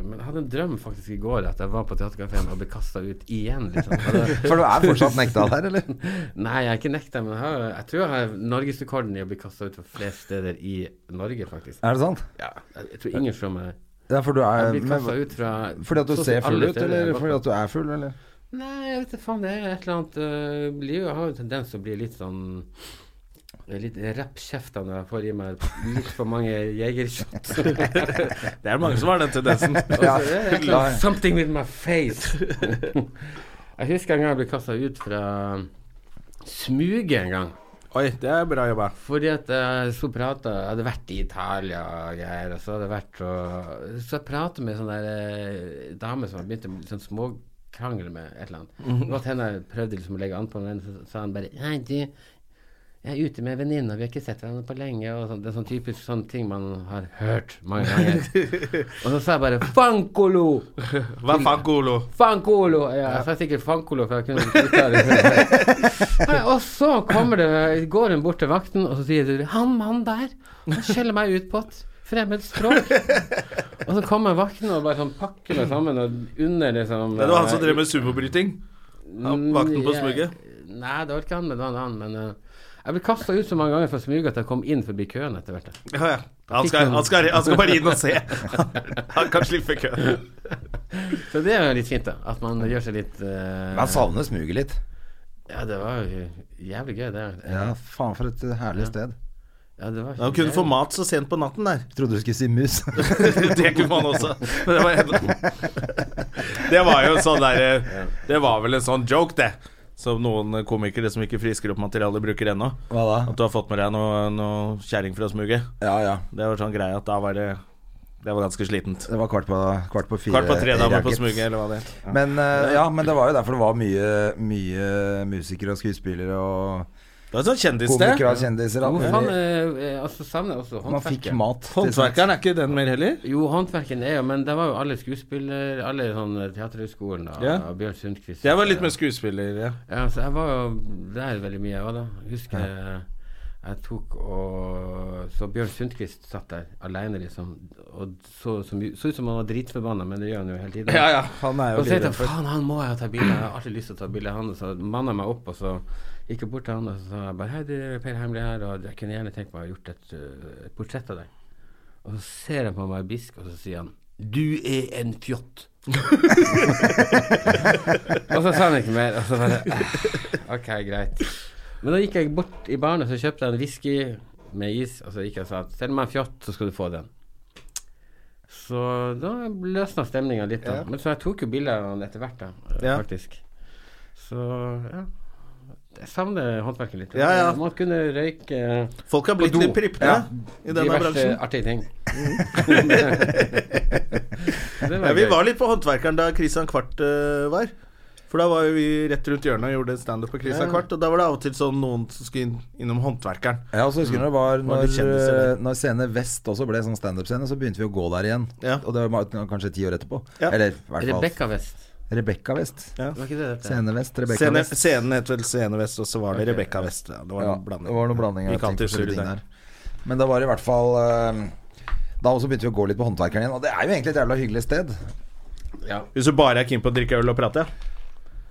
men jeg hadde en drøm faktisk i går at jeg var på Theatercaféen og ble kasta ut igjen,
*laughs*
liksom. Og det-
For du er fortsatt nekta der, eller?
Nei, jeg er ikke nekta, men jeg, har, jeg tror jeg har norgesrekorden i å bli kasta ut fra flest steder i Norge, faktisk.
Er det sant?
Ja. Jeg, jeg tror ingen slår meg.
Ja, for du
Jeg
er
har blitt
Eh, men-
kasta ut fra
Fordi at du
så å si
ser
alle
full ut,
steder jeg
eller
har gått
fordi
på.
at du er full, eller?
Nei, jeg vet ikke faen. Det er et eller annet øh, blir jo, Jeg har jo en tendens til å bli litt sånn eh, Litt rappkjefta når jeg får i meg litt for mange jegershots.
*laughs*
*laughs*
Det er mange som har den *laughs* tendensen.
Og så er det et eller annet Something with my face. *laughs* jeg husker en gang jeg ble kasta ut fra smuget en gang.
Oi, det er bra jobba.
Fordi at jeg sto og pratet, jeg hadde vært i Italia og greier, og så hadde jeg vært og Så jeg pratet med en sånn der eh, dame som hadde begynt en sånn småkrangel med et eller annet. Godt hende jeg prøvde liksom å legge an på den, så sa han bare Nei, du, jeg er ute med venninna, vi har ikke sett hverandre på lenge, og sånn. Det er sånn typisk sånn ting man har hørt mange ganger. og så sa jeg bare Fankolo!
Hva faen, Golo?
Fankolo! Ja, jeg sa sikkert Fankolo, for jeg kunne ikke uttale det. Nei, Og så kommer det, går hun bort til vakten, og så sier du 'Han mannen der, han skjeller meg ut på et fremmed språk'. og så kommer vakten og bare sånn pakker meg sammen og under liksom
Det var han som drev med sumobryting. Han vakten på
jeg-
smuget.
Nei, det var ikke han, men det var en annen. Men eh, jeg ble kasta ut så mange ganger fra smuget at jeg kom inn forbi køen etter hvert.
Ja, ja. Han skal, han, skal, han skal bare inn *laughs* og se. Han kan slippe køen.
Så det er jo litt fint, da. At man gjør seg litt eh,
Man savner smuget litt.
Ja, det var jo jævlig gøy, det.
Ja, faen for et herlig sted.
Ja, det var
Han kunne få mat så sent på natten der.
Trodde du skulle si mus.
Det kunne man også. Men det var, det var jo sånn der Det var vel en sånn joke, det. Som noen komikere som ikke frisker opp materialet, bruker ennå.
*laughs* Hva da?
At du har fått med deg noe, noe kjerring fra smuget.
Ja, ja.
Det var sånn greie at da var det Det var ganske slitent.
Det var kvart på, kvart på fire.
Kvart på tre damer på
racket.
smuget, eller hva det het.
Men, eh, ja, men det var jo derfor det var mye, mye musikere og skuespillere og
Det var sånn kjendissted.
komikere og kjendiser. alt
Hvor faen
mulig.
eh, eh, Altså, savner jeg også
Man fikk
håndverket.
mat. til slutt.
Håndverkeren er ikke den mer heller.
Jo, håndverken er jo Men det var jo alle skuespiller Alle sånn teaterhøgskolen da,
Ja.
og Bjørn Sundquist.
Jeg var litt med skuespiller, ja.
Ja, så jeg var jo der veldig mye, jeg òg, da. Jeg Husker jeg, jeg tok og Så Bjørn Sundquist satt der alene, liksom, og så, så, mye- så ut som han var dritforbanna, men det gjør han jo hele tiden.
Ja, ja, han er jo
og så tenkte
livredd
jeg faen, han må jeg ta bilde av. Jeg har alltid lyst til å ta bilde av han. Og så manna jeg meg opp, og så gikk jeg bort til han og så sa jeg bare Hei, du Per Heimli her, og jeg kunne gjerne tenkt meg å ha gjort et, øh, et portrett av deg. Og så ser han på meg bisk, og så sier han Du er en fjott. *laughs* og så sa han ikke mer. Og så bare «Ah, Ok, greit. Men da gikk jeg bort i baren og så kjøpte jeg en whisky med is, og så gikk jeg og sa at send meg en fjott, så skal du få den. Så da løsna stemninga litt. da Men så jeg tok jo bilder av han etter hvert, da, eh,
Ja.
faktisk. Så ja. Jeg savner håndverket litt.
Ja, ja.
Man kunne røyke
Folk har blitt
På do.
litt prippne
Ja.
i denne
diverse
bransjen.
artige
*laughs*
ting. det
Ja, vi
gøy.
var litt på Håndverkeren da Christian Kvart eh, var. For da var jo vi rett rundt hjørnet og gjorde standup på Christian Kvart. Og da var det av og til sånn noen som skulle inn, innom Håndverkeren.
Ja, og så husker jeg når det var
var litt
når,
kjendiser der.
når Scene Vest også ble sånn standup-scene, så begynte vi å gå der igjen.
Ja.
Og det var kanskje ti år etterpå.
Ja.
Eller i hvert fall
Rebekka West.
Rebekka Vest.
Var ikke det dette?
Scene Vest, Rebekka
Scene,
Vest.
scenen het vel Scene Vest, og så var det Rebekka Vest. Ja, det var
Ja,
en blanding.
det var noen blanding av
Gikk
ting
alltid
forskjellige
surr
ting
der.
der. Men det var i hvert fall eh, Da også begynte vi å gå litt på håndverkeren igjen. Og det er jo egentlig et jævla hyggelig sted.
Hvis du bare er keen på å drikke øl og prate,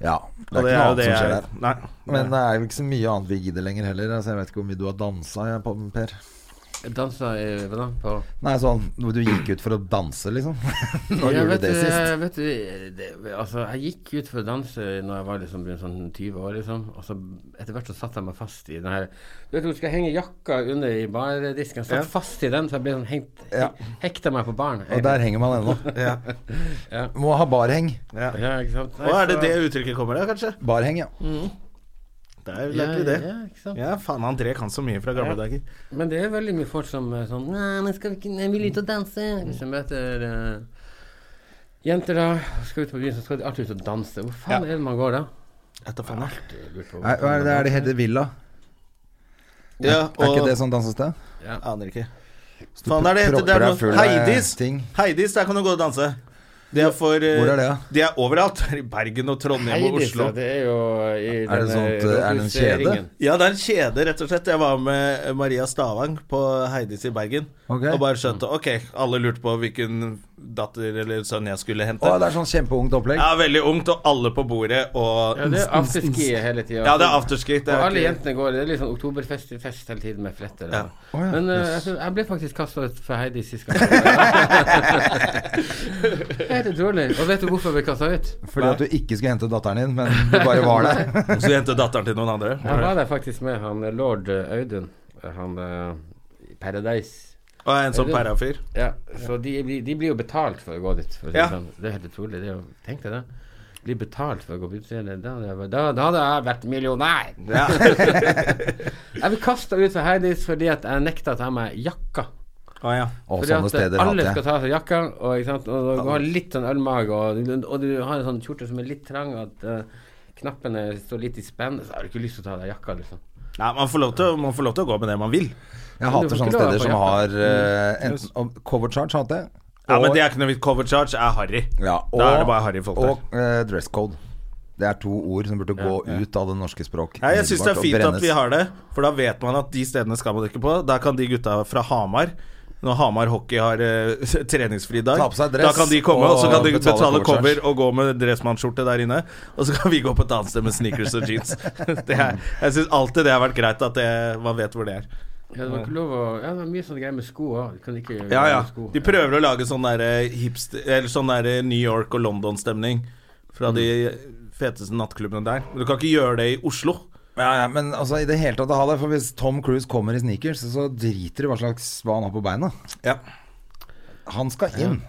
ja.
Ja. Det
Og
er ikke noe annet
det
som skjer der.
jeg- Nei.
Men det er jo ikke så mye annet vi gidder lenger heller. Altså, jeg vet ikke hvor mye du har dansa, jeg, på- Per.
Dansa i Hva da? På
Nei, sånn Du gikk ut for å danse, liksom. *laughs* Når
Ja,
gjorde
vet
du det
du,
sist?
jeg- Vet du, det, altså, jeg gikk ut for å danse Når jeg var liksom rundt sånn 20 år, liksom. Og så etter hvert så satte jeg meg fast i den her Du vet når du skal henge jakka under i bardisken? Jeg Satt fast i den, så jeg ble sånn hengt
Ja.
Hekta meg på baren.
Og der henger man ennå. *laughs*
Ja.
Må ha barheng.
Ja, ikke sant?
eh,
Og er det det uttrykket kommer av, kanskje?
Barheng, ja.
Det er jo
ja,
egentlig det.
Ja, ikke sant?
Ja, faen, André kan så mye fra gamle dager.
Men det er veldig mye folk som er sånn Nei, men skal vi ikke Jeg vil ut og danse.
Mm.
Hvis jeg møter eh, jenter da, skal ut på byen, så skal de alltid ut og danse. Hvor faen er det man går da?
Etter faen, da.
Jeg lurer på
Nei,
hvor-
hva er det, er det Hedde Villa?
Ja,
Er ikke
og
det sånn dansested?
Aner ikke. Faen, er det heter
propper
det er
deg
noe-
full av eh,
Heidis!
ting.
Heidis, der kan du gå og danse. Det er for eh,
Hvor er det, da?
De er overalt. *laughs* I Bergen og Trondheim og
Heidis,
Oslo.
ja, det er jo i
Er det
denne
sånt, eh, er det en kjede?
rådhusringen.
Ja, det er en kjede, rett og slett. Jeg var med eh, Maria Stavang på Heidis i Bergen.
Ok.
Og bare skjønte Ok, alle lurte på hvilken datter eller sønn jeg skulle hente.
Å, det er sånn kjempeungt opplegg.
ja, veldig ungt, og alle på bordet, og
Ja, det er afterski hele tida.
Ja, det er afterski. Det
og
er
alle
ikke-
jentene går Det er litt sånn oktoberfest fest hele tiden med fletter. da.
Ja.
Å, ja.
Men eh, jeg, tror- jeg ble faktisk kasta ut fra Heidi sist
*laughs*
gang. Helt utrolig. Og vet du hvorfor jeg ble kasta ut?
Fordi at du ikke skulle hente datteren din, men du bare var
*laughs*
der.
Og så hente datteren til noen andre.
Jeg var der faktisk med han eh, lord eh, Audun. eh, Han eh, i Paradise.
Og en sånn parafyr.
Ja, så de, blir- de blir jo betalt for å gå dit. For å si
Ja.
det sånn. Det er helt utrolig. Det er jo, tenk deg det. Bli betalt for å gå på utstilling. Da, da, da hadde jeg vært millionær.
Ja.
Jeg ble kasta ut av Heidis fordi at jeg nekta å ta meg jakka.
*laughs* Å ja.
Og
Fordi
sånne
at eh,
steder
alle
hater
skal
jeg.
ta av seg jakka, og, ikke sant? og du har litt sånn ølmage, og, og du har en sånn kjorte som er litt trang, at eh, knappene står litt i spenn, så har du ikke lyst til å ta av deg jakka, liksom.
Nei, man får, lov til, man får lov til å gå med det man vil.
Jeg
du får
hater
ikke
sånne
lov å ha
steder
på
som
jakka.
har eh, enten og cover charge, hater jeg.
Mm. Ja, Men
Og-
det er ikke noe vidt cover charge. er harry.
Ja, og,
da er det bare harry folk der.
og eh, dress code. Det er to ord som burde gå ut av det norske språk.
Nei, jeg syns det er
umiddelbart, og
fint at
brennes.
vi har det, for da vet man at de stedene skal man ikke på. Da kan de gutta fra Hamar når Hamar hockey har eh, *laughs* treningsfri dag,
Ta på seg dress
da kan de komme, og så kan de
og
betale,
betale
cover
covercharge.
og gå med dressmannsskjorte der inne. Og så kan vi gå på et annet sted med sneakers og jeans. Det er, jeg syns alltid det har vært greit at det, man vet hvor det er.
Ja, det var ikke lov å Ja, det var mye sånne greier med sko òg. Du kan ikke
Ja, ja.
med sko.
De prøver å lage sånn der eh, hipster Eller sånn der eh, New York og London-stemning fra de feteste nattklubbene der. Men du kan ikke gjøre det i Oslo.
ja, ja, Men altså, i det hele tatt å ha det. For hvis Tom Cruise kommer i sneakers, så driter du hva slags hva han har på beina.
Ja.
Han skal inn.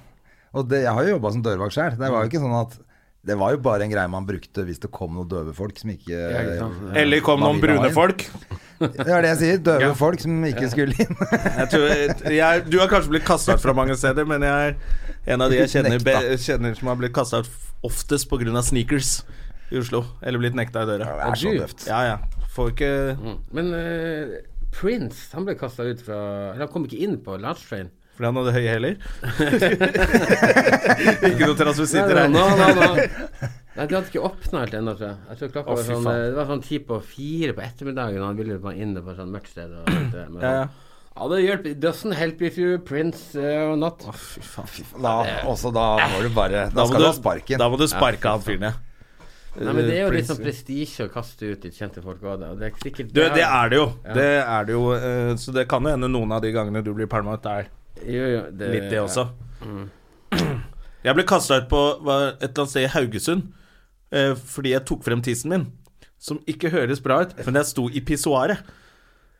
Og det, jeg har jo jobba som dørvakt sjøl. Det var jo ikke sånn at det var jo bare en greie man brukte hvis det kom noen døve folk som ikke
ikke sant.
Eh, Eller kom
Man
noen
vil ha
brune
inn.
folk.
*laughs* Det er det jeg sier. Døve
Ja.
folk som ikke skulle inn.
Jeg tror, jeg, du har kanskje blitt kasta ut fra mange steder, men jeg er en av de jeg kjenner, be, kjenner som har blitt kasta ut oftest pga. sneakers i Oslo. Eller blitt nekta i
Det
døra.
er så
du?
døvt.
Ja, ja. Får ikke
Mm. Men eh, Prince, han ble kasta ut fra Eller han kom ikke inn på Large Train.
Fordi han hadde høye *laughs* hæler. ikke noe transvestitter
Nei,
her.
nei, nei,
*laughs*
nei, nei. Nei, de hadde ikke åpna helt ennå, tror jeg. jeg tror klokka
Å,
var
fy
sånn,
faen.
eh, det var sånn ti på fire på ettermiddagen, og han ville bare inn på et sånt mørkt sted. Og alt det, men
Ja, ja.
sånn, ja, det hjelper. It Doesn't help if you Prince eh, or not.
Da, også da var du bare Da, skal du ha sparken.
Da må du sparke han fyren, ja.
Nei, men Det er jo litt
Prince.
sånn prestisje å kaste ut litt kjente folk òg, og det er sikkert
Du, det er det jo. Det er det jo. eh, Så det kan jo hende noen av de gangene du blir pælma ut, er
jo, jo, det-
Litt det også. *clears throat* Jeg ble kasta ut på var et eller annet sted i Haugesund eh, fordi jeg tok frem tissen min, som ikke høres bra ut, men jeg sto i pissoaret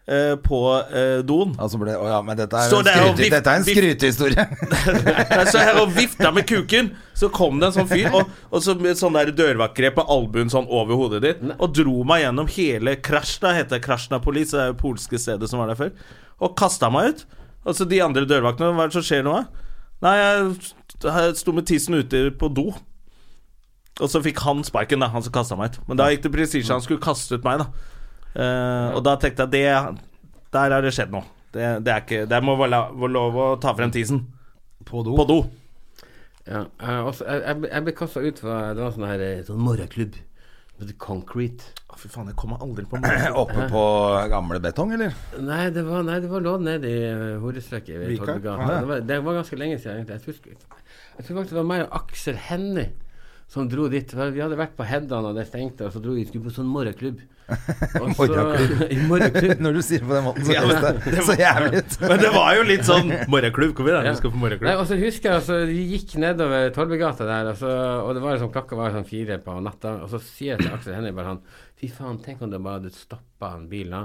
eh, på eh, doen.
Altså ble, å ja, men dette er
Stå
en,
der og
skryte,
vift-
dette er en
vift-
skrytehistorie.
Jeg så her og vifta med kuken, så kom det en sånn fyr og, og så med sånn der dørvaktgrep med albuen sånn over hodet ditt, og dro meg gjennom hele Krasjna, heter det Krasjna Police, det er jo polske stedet som var der før, og kasta meg ut. Og så de andre dørvaktene, hva er det som skjer nå? da? Nei, jeg jeg sto med tissen ute på do. Og så fikk han sparken, da, han som kasta meg ut. Men da gikk det prestisje, han skulle kaste ut meg, da. Eh, og da tenkte jeg det Der har det skjedd noe. Det, det er ikke Det må være la- være lov å ta frem tissen. På do. På do.
Ja, jeg, også, jeg, jeg, ble- jeg ble kasta ut fra Det var en sånn her eh, sånn morgenklubb. Det heter Concrete.
Å, fy faen, jeg kommer aldri *laughs* på morgenen.
Oppe på gamle betong, eller?
Nei, det var, nei, det var lånt ned i eh, hodestrøket. ved
Vika?
Torgata.
Ah, ja.
det, var- det var ganske lenge siden, egentlig. Jeg tror, jeg tror faktisk det var meg og Aksel Hennie som dro dit. For Vi hadde vært på Heddan, og det stengte, og så dro vi skulle på sånn
*laughs*
morgenklubb. Og så- *laughs* I morgenklubb.
Når du sier det på den måten, så
Ja, men
høres det så jævlig ut.
Men det var jo litt sånn morgenklubb. Kom igjen,
Ja.
vi skal på
Nei,
morgenklubb.
og så husker jeg altså, Vi gikk nedover Tollbugata der, og, så, og det var liksom, klokka var sånn fire på natta. Og så sier jeg til Aksel Hennie bare han Fy faen, tenk om det bare hadde stoppa han bilen da,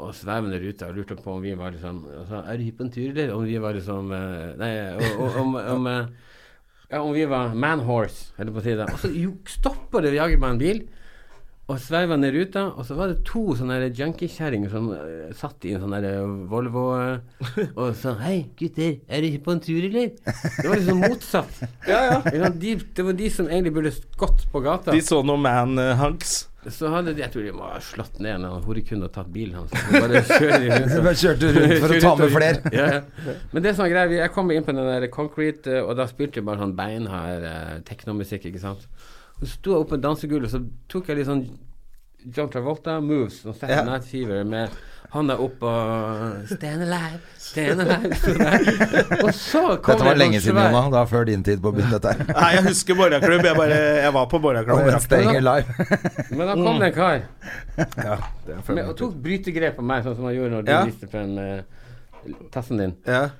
og svevende rute og lurte på om vi var liksom altså, Er du hypp på en tur, eller? Om vi var liksom eh, Nei, og- og- om, om, eh, ja, om vi var manhorse, holdt jeg på å si det. Og så jo, stoppa det jaget meg en bil. Og sveiva ned ruta, og så var det to sånne her junkiekjerringer som eh, satt i en sånn her, eh, Volvo eh, og sa 'Hei, gutter, er dere på en tur, eller?' Det var liksom motsatt. Ikke sant? De, det var de som egentlig burde gått på gata.
De så noe Man eh, Hunks.
Så hadde de Jeg tror de må ha slått ned en horekunde og tatt bilen hans. og Bare *laughs* kjører de rundt.
Du bare kjørte rundt for å ta med flere.
Ja, ja. Men det som er greia, vi- jeg kom inn på den der Concrete, eh, og da spilte jeg bare sånn beinhard eh, teknomusikk, ikke sant. Og så sto jeg oppe på dansegulvet, så tok jeg litt sånn John Travolta moves, sånn Saturday Night Fever med handa opp og Stand alive, stand alive. Så der. *laughs* Og så kom
Dette var
det en
lenge
sånn
siden,
svær-
Jonna. Det var før din tid på å begynne *laughs* dette her.
Nei, jeg husker morgenklubb. Jeg, bare, jeg var på morgenklubb.
Kommer
Jeg
en stenger live. *laughs*
Men da kom det en
*laughs*
kar
rakk
med, og
det.
tok brytegrep på meg, sånn som han gjorde når du
Ja.
viste frem eh, tassen din.
Ja.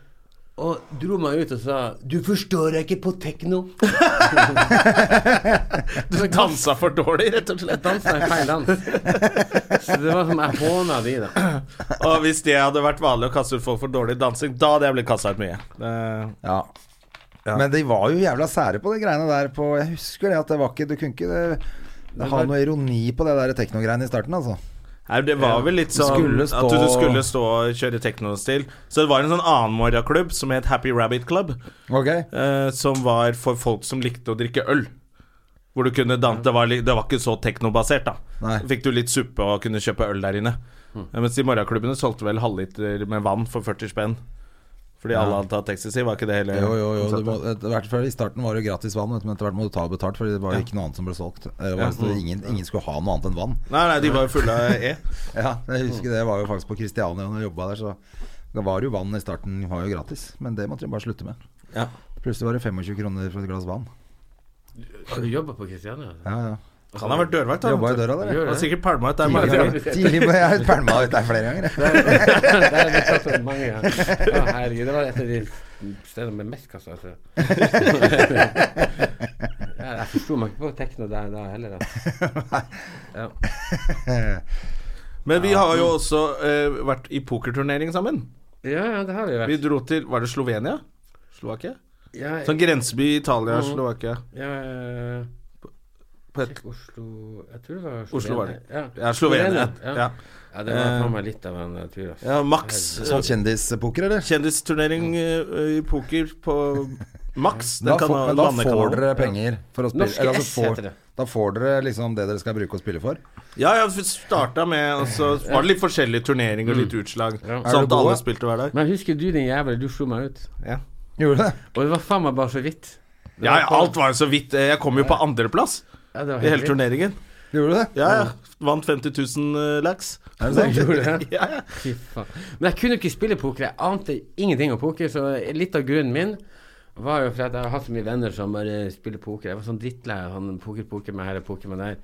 Og dro meg ut og sa 'Du forstår jeg ikke på tekno'.
Du dansa for dårlig, rett og
Jeg
slett.
dansa en feil dans. Så det var som jeg håna de, da.
*laughs* Og hvis det hadde vært vanlig å kaste ut folk for dårlig dansing, da hadde jeg blitt kasta ut mye. Det-
Ja. Men de var jo jævla sære på de greiene der på Jeg husker det at det var ikke Du kunne ikke det, det ha noe ironi på det der teknogreiene i starten, altså.
Nei, det var vel litt sånn
skulle stå-
at du skulle stå og kjøre teknostil. Så det var en sånn annen morgenklubb som het Happy Rabbit Club,
Ok?
eh, som var for folk som likte å drikke øl. Hvor du kunne dan det, var, li- det var ikke så teknobasert, da.
Nei. Mm.
Fikk du litt suppe og kunne kjøpe øl der inne. Eh, Mens de morgenklubbene solgte vel halvliter med vann for 40 spenn. Fordi alle hadde tatt ecstasy, var ikke det hele
Jo, jo, jo. Det
konseptet?
var, etter hvert, for I starten var det jo gratis vann, vet du, men etter hvert må du ta betalt, for det var ikke noe annet som ble solgt. Det var, så ingen, ingen skulle ha noe annet enn vann.
Nei, nei, de var jo fulle
*laughs*
av E.
Ja, jeg husker det var jo faktisk på Kristiania når jeg jobba der, så det var jo vann i starten, var jo gratis. Men det måtte de bare slutte med.
Ja.
Plutselig var det 25 kroner for et glass vann.
Har du jobba på Kristiania?
Ja, ja.
Han har vært dørvakt, da.
Jobba i døra der. jeg.
Gjør
Han har
det.
sikkert palma ut der. mange ganger.
Tidlig, tidlig, jeg har pælma ut der flere ganger. jeg.
Det har vi tatt opp mange ganger. Å, herregud, det var et av de stedene med mest kassa.
*laughs*
Altså. ja, jeg forsto meg ikke på tekno der da heller. Altså. Ja.
Men vi har jo også eh, vært i pokerturnering sammen.
ja, ja, det har vi
Vi
vært.
dro til Var det Slovenia? Slovakia?
Ja,
Sånn grenseby Italia,
Mm.
Slovakia.
ja, eh,
På et,
sjekk Oslo Jeg tror det var Slovenia.
Oslo var det.
Ja,
ja, Slovenia.
Ja.
Ja.
Ja, det var faen meg litt av en eh, tur. Altså.
ja, Max.
Sånn kjendispoker, eller?
Kjendisturnering eh, i poker på Max. Den
Da, får,
kana-
men da får
landekanalen.
dere penger for å spille.
Norske
eller
S
altså får,
heter det.
da får dere liksom det dere skal bruke å spille for.
Ja, ja, vi starta med Og så var det litt forskjellige turneringer og litt utslag. Sånn
Mm. Er
at
du
alle
god?
spilte hver dag.
Men husker du din jævel, du slo meg ut.
Ja.
Gjorde det?
Og det var faen meg bare så vidt. Det
ja,
var
ja,
faen-
alt var jo så vidt. Eh, Jeg kom jo på andreplass
ja, det var
i hele
helt vidt.
turneringen.
Gjorde du det?
Ja, ja. Vant 50 000 lax.
Er det sant?
Gjorde det?
*laughs* Ja, ja.
Fy faen. Men jeg kunne jo ikke spille poker. Jeg ante ingenting om poker, så litt av grunnen min var jo for at jeg har hatt så mye venner som bare spiller poker. Jeg var sånn drittlei av han poker-poker med her og poker med der.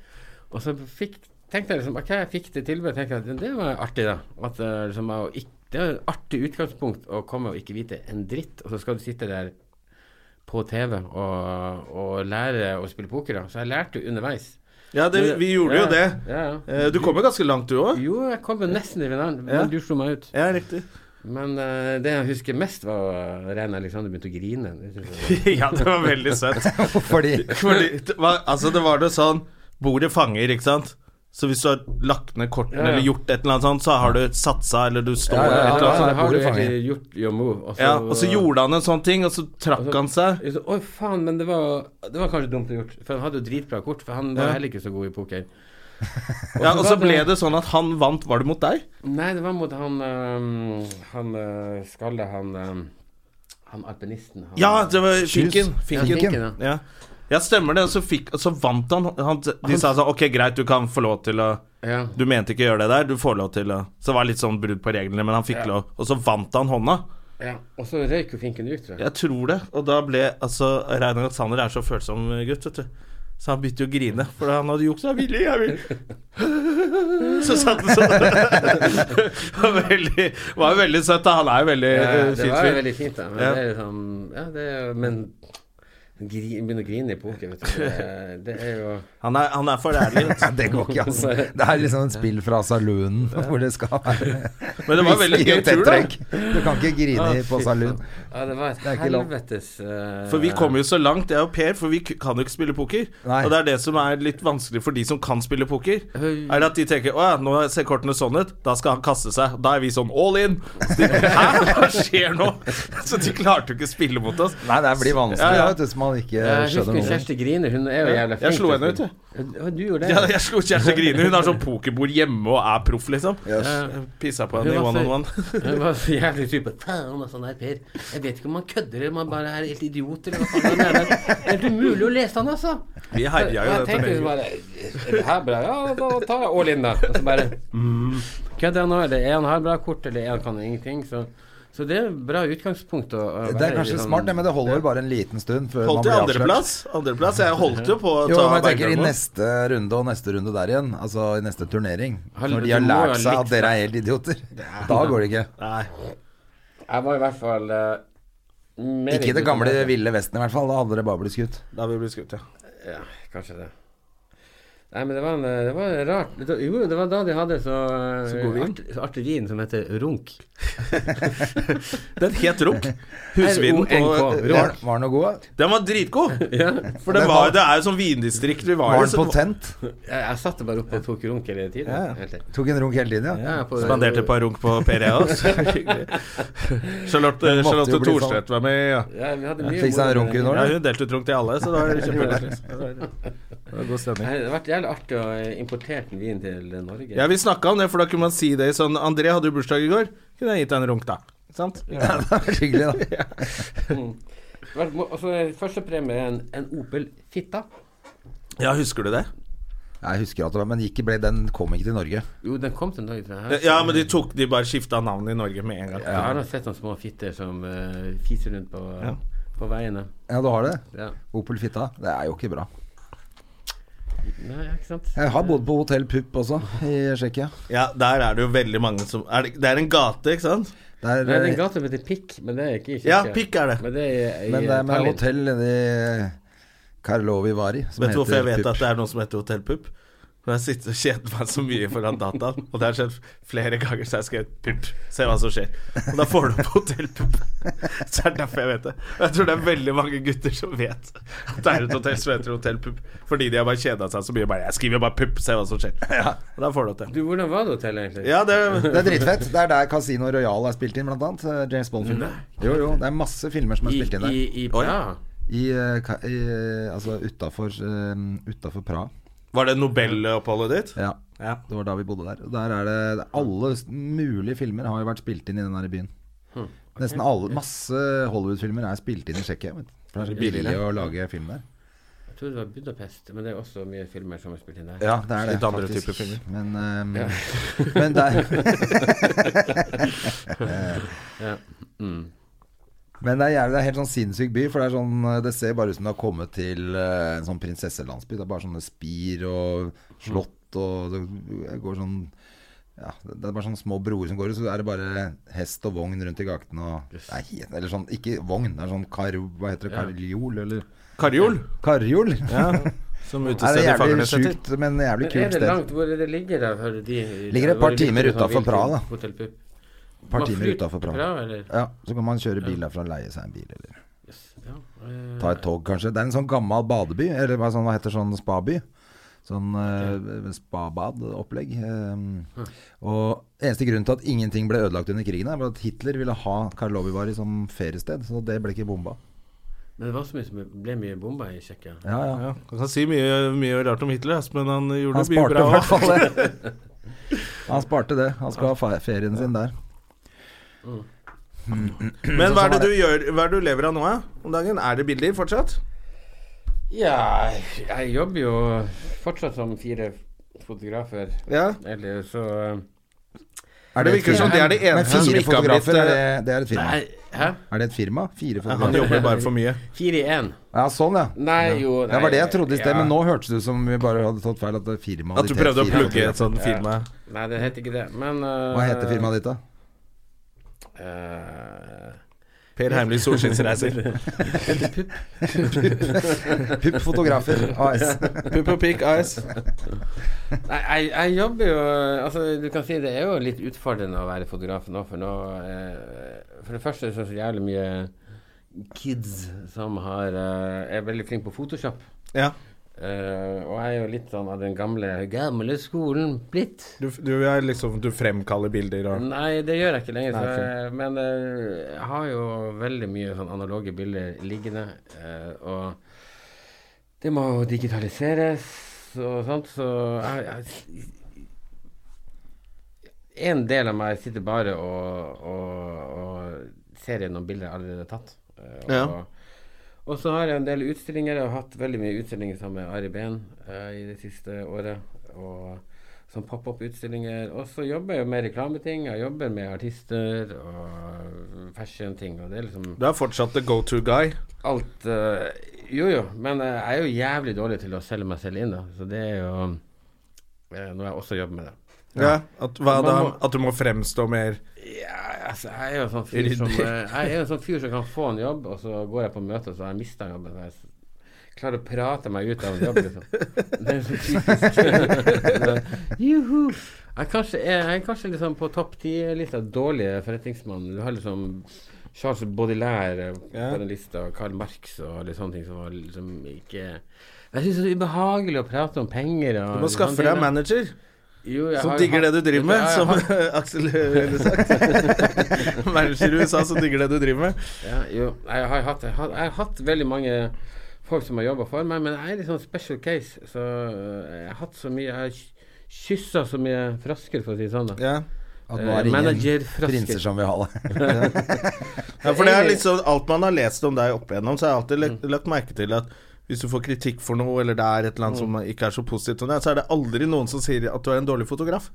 Og så fikk, tenkte jeg liksom OK, jeg fikk det tilbudet. Tenkte jeg at det var artig, da. At eh, liksom, jeg, og ikk- det er et artig utgangspunkt å komme og ikke vite en dritt, og så skal du sitte der på TV og, og lære å spille poker. Da. Så jeg lærte jo underveis.
ja det, vi gjorde jo
Ja,
det.
Ja, ja.
Eh, Du kom jo ganske langt, du òg.
Jo, jeg kom jo nesten i finalen, men
Ja.
du slo meg ut.
Ja, riktig. *laughs*
Men eh, det jeg husker mest, var uh, Rein Alexander begynte å grine. Det synes jeg
ja, det var veldig søtt.
*laughs* Fordi
Fordi, det var, altså, det var det sånn Bordet fanger, ikke sant? Så hvis du har lagt ned kortene
Ja, ja.
eller gjort et eller annet sånt, så har du satsa eller du står
Ja,
eller
ja,
et
var-
eller annet
Altså,
sånt.
det har du
bordet fanger.
egentlig gjort your move. Og så,
Ja, og så gjorde han en sånn ting, og så trakk
Og så-
han seg.
Jeg sa, Oi, faen, men det var, det var kanskje dumt å gjort. For han hadde jo dritbra kort, for han var heller ikke så god i poker.
Ja, og så
var
ble
det-
det sånn at han vant. Var det mot deg?
Nei, det var mot han um, Han uh, Skalle, han um, Han alpinisten. Han,
Ja, det var Finken.
Ja,
Finken.
Finken, ja.
Ja. ja, stemmer det. Og så, fikk, og så vant han. han. De sa sånn Ok, greit, du kan få lov til å
ja.
Du mente ikke å gjøre det der, du får lov til å Så det var litt sånn brudd på reglene, men han fikk lov. Og så vant han hånda.
ja. Og så røyk jo Finken ut, tror jeg.
Jeg tror det. Og da ble altså Rein Alexander er så følsom gutt, vet du. Så han begynte jo å grine, for han hadde juksa. Jeg vil, jeg vil. *laughs* Så satt han sånn. *laughs* Det var veldig, var jo veldig søtt, da. Han er jo veldig
Ja,
eh,
det
fin
var jo
fyr.
veldig fint, da. Men
Ja.
det er liksom Ja, det er Men gri, begynne å grine i poker, vet du. Det, er- det er jo
Han er, han er for ærlig. vet
*laughs*
du.
Det går ikke,
*laughs*
altså. Det er liksom et spill fra saloonen hvor det skal være
Men det
*laughs*
var veldig
whisky
gøy
og
tur, da.
tettdrikk. Du kan ikke
Ah,
grine i- på saloon.
Ja, det var et
er ikke lov.
helvetes eh,
For vi kommer jo så langt, jeg og Per, for vi k- kan jo ikke spille poker.
Nei.
Og det er det som er litt vanskelig for de som kan spille poker. Er det at de tenker å ja, nå ser kortene sånn ut, da skal han kaste seg. Da er vi sånn all in. Så de, Hæ, hva skjer nå? *laughs* Så de klarte jo ikke å spille mot oss.
Nei, det blir vanskelig
Ja, ja.
vet du, hvis man ikke skjønner
Jeg husker
noe.
Kjersti Grine, hun er jo jævla flink.
Jeg slo henne ut,
jeg.
jeg.
Du gjorde det?
Ja, jeg slo Kjersti Grine. Hun har sånn pokerbord hjemme og er proff, liksom.
Eh,
Pissa på henne i
Hun var
one
så-
on
*laughs*
one.
Hun var så jævlig type Faen, altså, nei, Per. Jeg vet ikke om han kødder eller om han bare er helt idiot, eller hva faen han mener. Det er helt umulig å lese han, altså.
Vi herja jo
jeg
den
tenkte
turneringen.
bare Er det her bra? Ja, da tar jeg all in, da. Og så bare mm, Kødder han nå? Eller er han her bra kort, eller er han kan ingenting? Så, så det er et bra utgangspunkt å, å
Det er kanskje
litt sånn-
smart, det, men det holder vel bare en liten stund før man
Holdt i
blir avslørt.
andreplass. Andreplass. Jeg holdt jo på å
Jo,
ta
men jeg tenker i
Bergdølmo.
neste runde og neste runde der igjen, altså i neste turnering,
Har-
når de har
du må jo ha
lært seg
likt
at dere er helt idioter, da går det ikke.
Nei.
Jeg var i hvert fall eh, mer
Ikke i det
idiot
gamle
enn deg.
ville vesten i hvert fall, da hadde dere bare blitt skutt.
Da vil vi bli skutt, ja.
Ja, kanskje det. Nei, men det var, en, eh, det var rart. Det, jo, det var da de hadde så, eh,
Så god vin?
Art, så artig vin som heter runk. *laughs*
Den het
*laughs*
Runk. Husvinen på
R-O-N-K,
Eh, Var,
Runk.
var den noe god?
Den var dritgod!
Ja.
For det,
Men
var,
var-
det er jo sånn vindistrikt vi var, i,
Var den
så det
potent?
Jeg, jeg satte bare opp og tok runk hele tiden.
Ja, ja.
helt til.
Tok en runk hele tiden, ja.
Ja, på-
Spanderte et par runk på Per *laughs* E også. Charlotte,
måtte
Charlotte
jo bli
Thorstvedt var med. Ja.
Ja, vi hadde mye
Fikk sånn seg en
moro med
runk
det.
under
Ja,
den.
hun delte ut runk til alle, så da var det kjempekoselig. Det var- det var God stemning.
Nei, Det har vært jævlig artig å eh, importere den vinen til eh, Norge.
Ja, vi snakka om det, for da kunne man si det i sånn André hadde jo bursdag i går. Kunne jeg gitt deg en runk, da? Ikke Sant?
*laughs* Det var Skikkelig, da.
*laughs* Det har vært mo- altså, første premie er en, en Opel Fitta.
*laughs* Ja, husker du det?
Jeg husker at det var, men ikke ble, den kom ikke til Norge.
Jo, den kom til Norge, tror jeg.
Ja, men de tok De bare skifta navn i Norge med en gang.
Jeg har da sett noen små fitter som eh, fiser rundt på,
Ja.
på veiene.
Ja, du har det?
Ja.
Opel Fitta. Det er jo ikke bra.
Nei, ja, ikke sant?
Jeg har bodd på hotell Pupp også, i Tsjekkia.
Ja, der er det jo veldig mange som er det, det er en gate, ikke sant?
Der, eh,
Nei, den gata heter Pikk, men det er ikke i
Ja,
Tsjekkia.
pikk er det.
Men det er i, i
men det er med
Tallinn.
hotell nedi Karlovi Vari. som
Vet du hvorfor
heter
jeg vet
Pupp.
at det er noe som heter Hotell Pupp? For jeg sitter og kjeder meg så mye foran dataen, og det har skjedd flere ganger, så jeg har skrevet pupp. Se hva som skjer. Og da får du opp Hotell Pupp. Så er det derfor jeg vet det. Og jeg tror det er veldig mange gutter som vet at det er et hotell som heter Hotell Pupp, fordi de har bare kjeda seg så mye. Bare, jeg skriver bare pupp, se hva som skjer. Og da får du det til.
Du, hvordan var det hotellet, egentlig?
Ja, det
Det er dritfett. Det er der Casino Royal er spilt inn, blant annet. eh, James Bond-filmer. Jo, jo. Det er masse filmer som er
I,
spilt inn der.
i, i, ja.
I, eh, ka- i eh, Altså utafor eh, Utafor Praha.
Var det Nobel-oppholdet ditt?
Ja.
Ja.
Det var da vi bodde der. Og der er det Alle s- mulige filmer har jo vært spilt inn i den her byen.
Hm.
Nesten alle Masse Hollywood-filmer er spilt inn i Tsjekkia. vet du. For det er så billig å lage film der.
Jeg tror det var Budapest, men det er også mye filmer som er spilt inn der.
Ja, det er det.
Litt andre
faktisk.
typer filmer.
Men, ehm, *laughs* men der Men det er, jævlig, det er helt sånn sinnssyk by, for det, er sånn, eh, det ser bare ut som det har kommet til eh, en sånn prinsesselandsby. Det er bare sånne spir og slott og det går sånn ja, Det er bare sånne små broer som går ut, så er det bare hest og vogn rundt i gatene. og- Det er helt- Eller sånn, ikke vogn, det er sånn kar... Hva heter det? Karjol, eller?
Karjol,
Karjol? *laughs*
som
Det er
utestedet i
jævlig
Fagernes heter.
sjukt, men jævlig
Men er
kult
det
sted.
langt hvor det ligger da? For de,
Ligger et par
var det
timer
litt sånn
utenfor
vilt
Praha, da.
Hotel Pupp.
Et par
Man
timer
flyr
utafor
til
Praha.
eller?
Ja, så kan man kjøre bil derfra og leie seg en bil, eller
Ja, eh,
ta et tog, kanskje. Det er en sånn gammel badeby, eller hva, sånn, hva heter sånn spaby? Sånn eh, spabad-opplegg. Eh, og eneste grunnen til at ingenting ble ødelagt under krigen, her, var at Hitler ville ha Karlovivari som feriested, så det ble ikke bomba.
men det var så mye som ble mye bomba i Tsjekkia.
Ja, ja.
Ja, man kan si mye, mye rart om Hitler, ass, men han gjorde
Han
det mye
sparte
bra
i hvert
også.
fall det. Han sparte det. Han skal ha fe- ferien sin der.
Men hva Mm. sånn er det du gjør, hva er det du lever av nå, ja? om dagen? Er det bilder fortsatt?
Ja, jeg jobber jo fortsatt som fire fotografer.
Ja.
Eller så eh,
Er
Det virker
et firma?
som det er det
Men
eneste som
fire
ikke har blitt, eh,
fotografer, er det, det er et firma?
Nei, hæ?
Er det et firma? Fire
Han
fotografer?
jobber bare for mye.
Fire i én.
Ja, sånn, ja.
Nei, jo
Det var det jeg trodde i sted,
ja.
men nå hørtes det ut som vi bare hadde tatt feil. At det er firmaet
*laughs* At du
ditt
prøvde å
het firmaet
plugge
ditt.
et sånt firma.
Nei, det heter ikke det. Men eh,
Hva heter firmaet ditt, da?
eh,
Per Heimly solskinnsreiser. *laughs*
Pupp Fotografer AS.
Pupp og pikk AS.
Nei, jeg, jeg jobber jo Altså, du kan si det er jo litt utfordrende å være fotograf nå, for nå eh, For det første så er det så jævlig mye kids som har eh, er veldig flinke på Photoshop.
Ja.
Eh, og jeg er jo litt sånn av den gamle, gamle skolen blitt.
Du, du, er liksom, du fremkaller bilder og
Nei, det gjør jeg ikke lenger.
Nei,
så,
ok.
jeg- men eh, jeg har jo veldig mye sånn analoge bilder liggende. eh, og det må jo digitaliseres og sånt, så jeg, jeg En del av meg sitter bare og, og, og ser gjennom bilder jeg allerede har tatt. eh,
Ja.
og, og så har jeg en del utstillinger. Jeg har hatt veldig mye utstillinger sammen med Ari Behn eh, i det siste året. Og som pop-up-utstillinger. Og så jobber jeg jo med reklameting. Jeg jobber med artister og fashion-ting. Og det er liksom
Du er fortsatt the go to guy.
alt eh, Jo, jo. Men eh, jeg er jo jævlig dårlig til å selge meg selv inn, da. Så det er jo eh, noe jeg også jobber med. det.
Ja. At, hva
Man
da?
må-
At du må fremstå mer
Ja, altså, jeg er jo en sånn fyr som eh, Jeg er jo en sånn fyr som kan få en jobb, og så går jeg på møte, så har jeg mista jobben. Så jeg s- klarer å prate meg ut av en jobb, liksom. Det er så typisk.
*laughs*
Juhu. Jeg kanskje er, jeg er kanskje liksom på topp ti-lista dårlige forretningsmann. Du har liksom Charles Baudelaire på den lista, og Karl Marx og litt sånne ting som var liksom ikke Jeg syns det er ubehagelig å prate om penger og
Du må skaffe deg en manager
Jo, jeg
som
har-
digger det du driver med,
Ja, jeg
som
har-
*laughs* Aksel ville sagt. *laughs* Manager i USA som digger det du driver med.
Ja, jo, jeg har, hatt, jeg, har, jeg har hatt veldig mange folk som har jobba for meg, men jeg er litt sånn special case. Så øh, jeg har hatt så mye Jeg har kyssa så mye frosker, for å si det sånn. da
Ja.
At
Eh, manager Frasker.
prinser som vil ha det. *laughs*
Ja, for det er litt sånn Alt man har lest om deg opp igjennom, så har jeg alltid lagt, lagt merke til at hvis du får kritikk for noe, eller det er et eller annet
Mm.
som ikke er så positivt, om deg, så er det aldri noen som sier at du er en dårlig fotograf.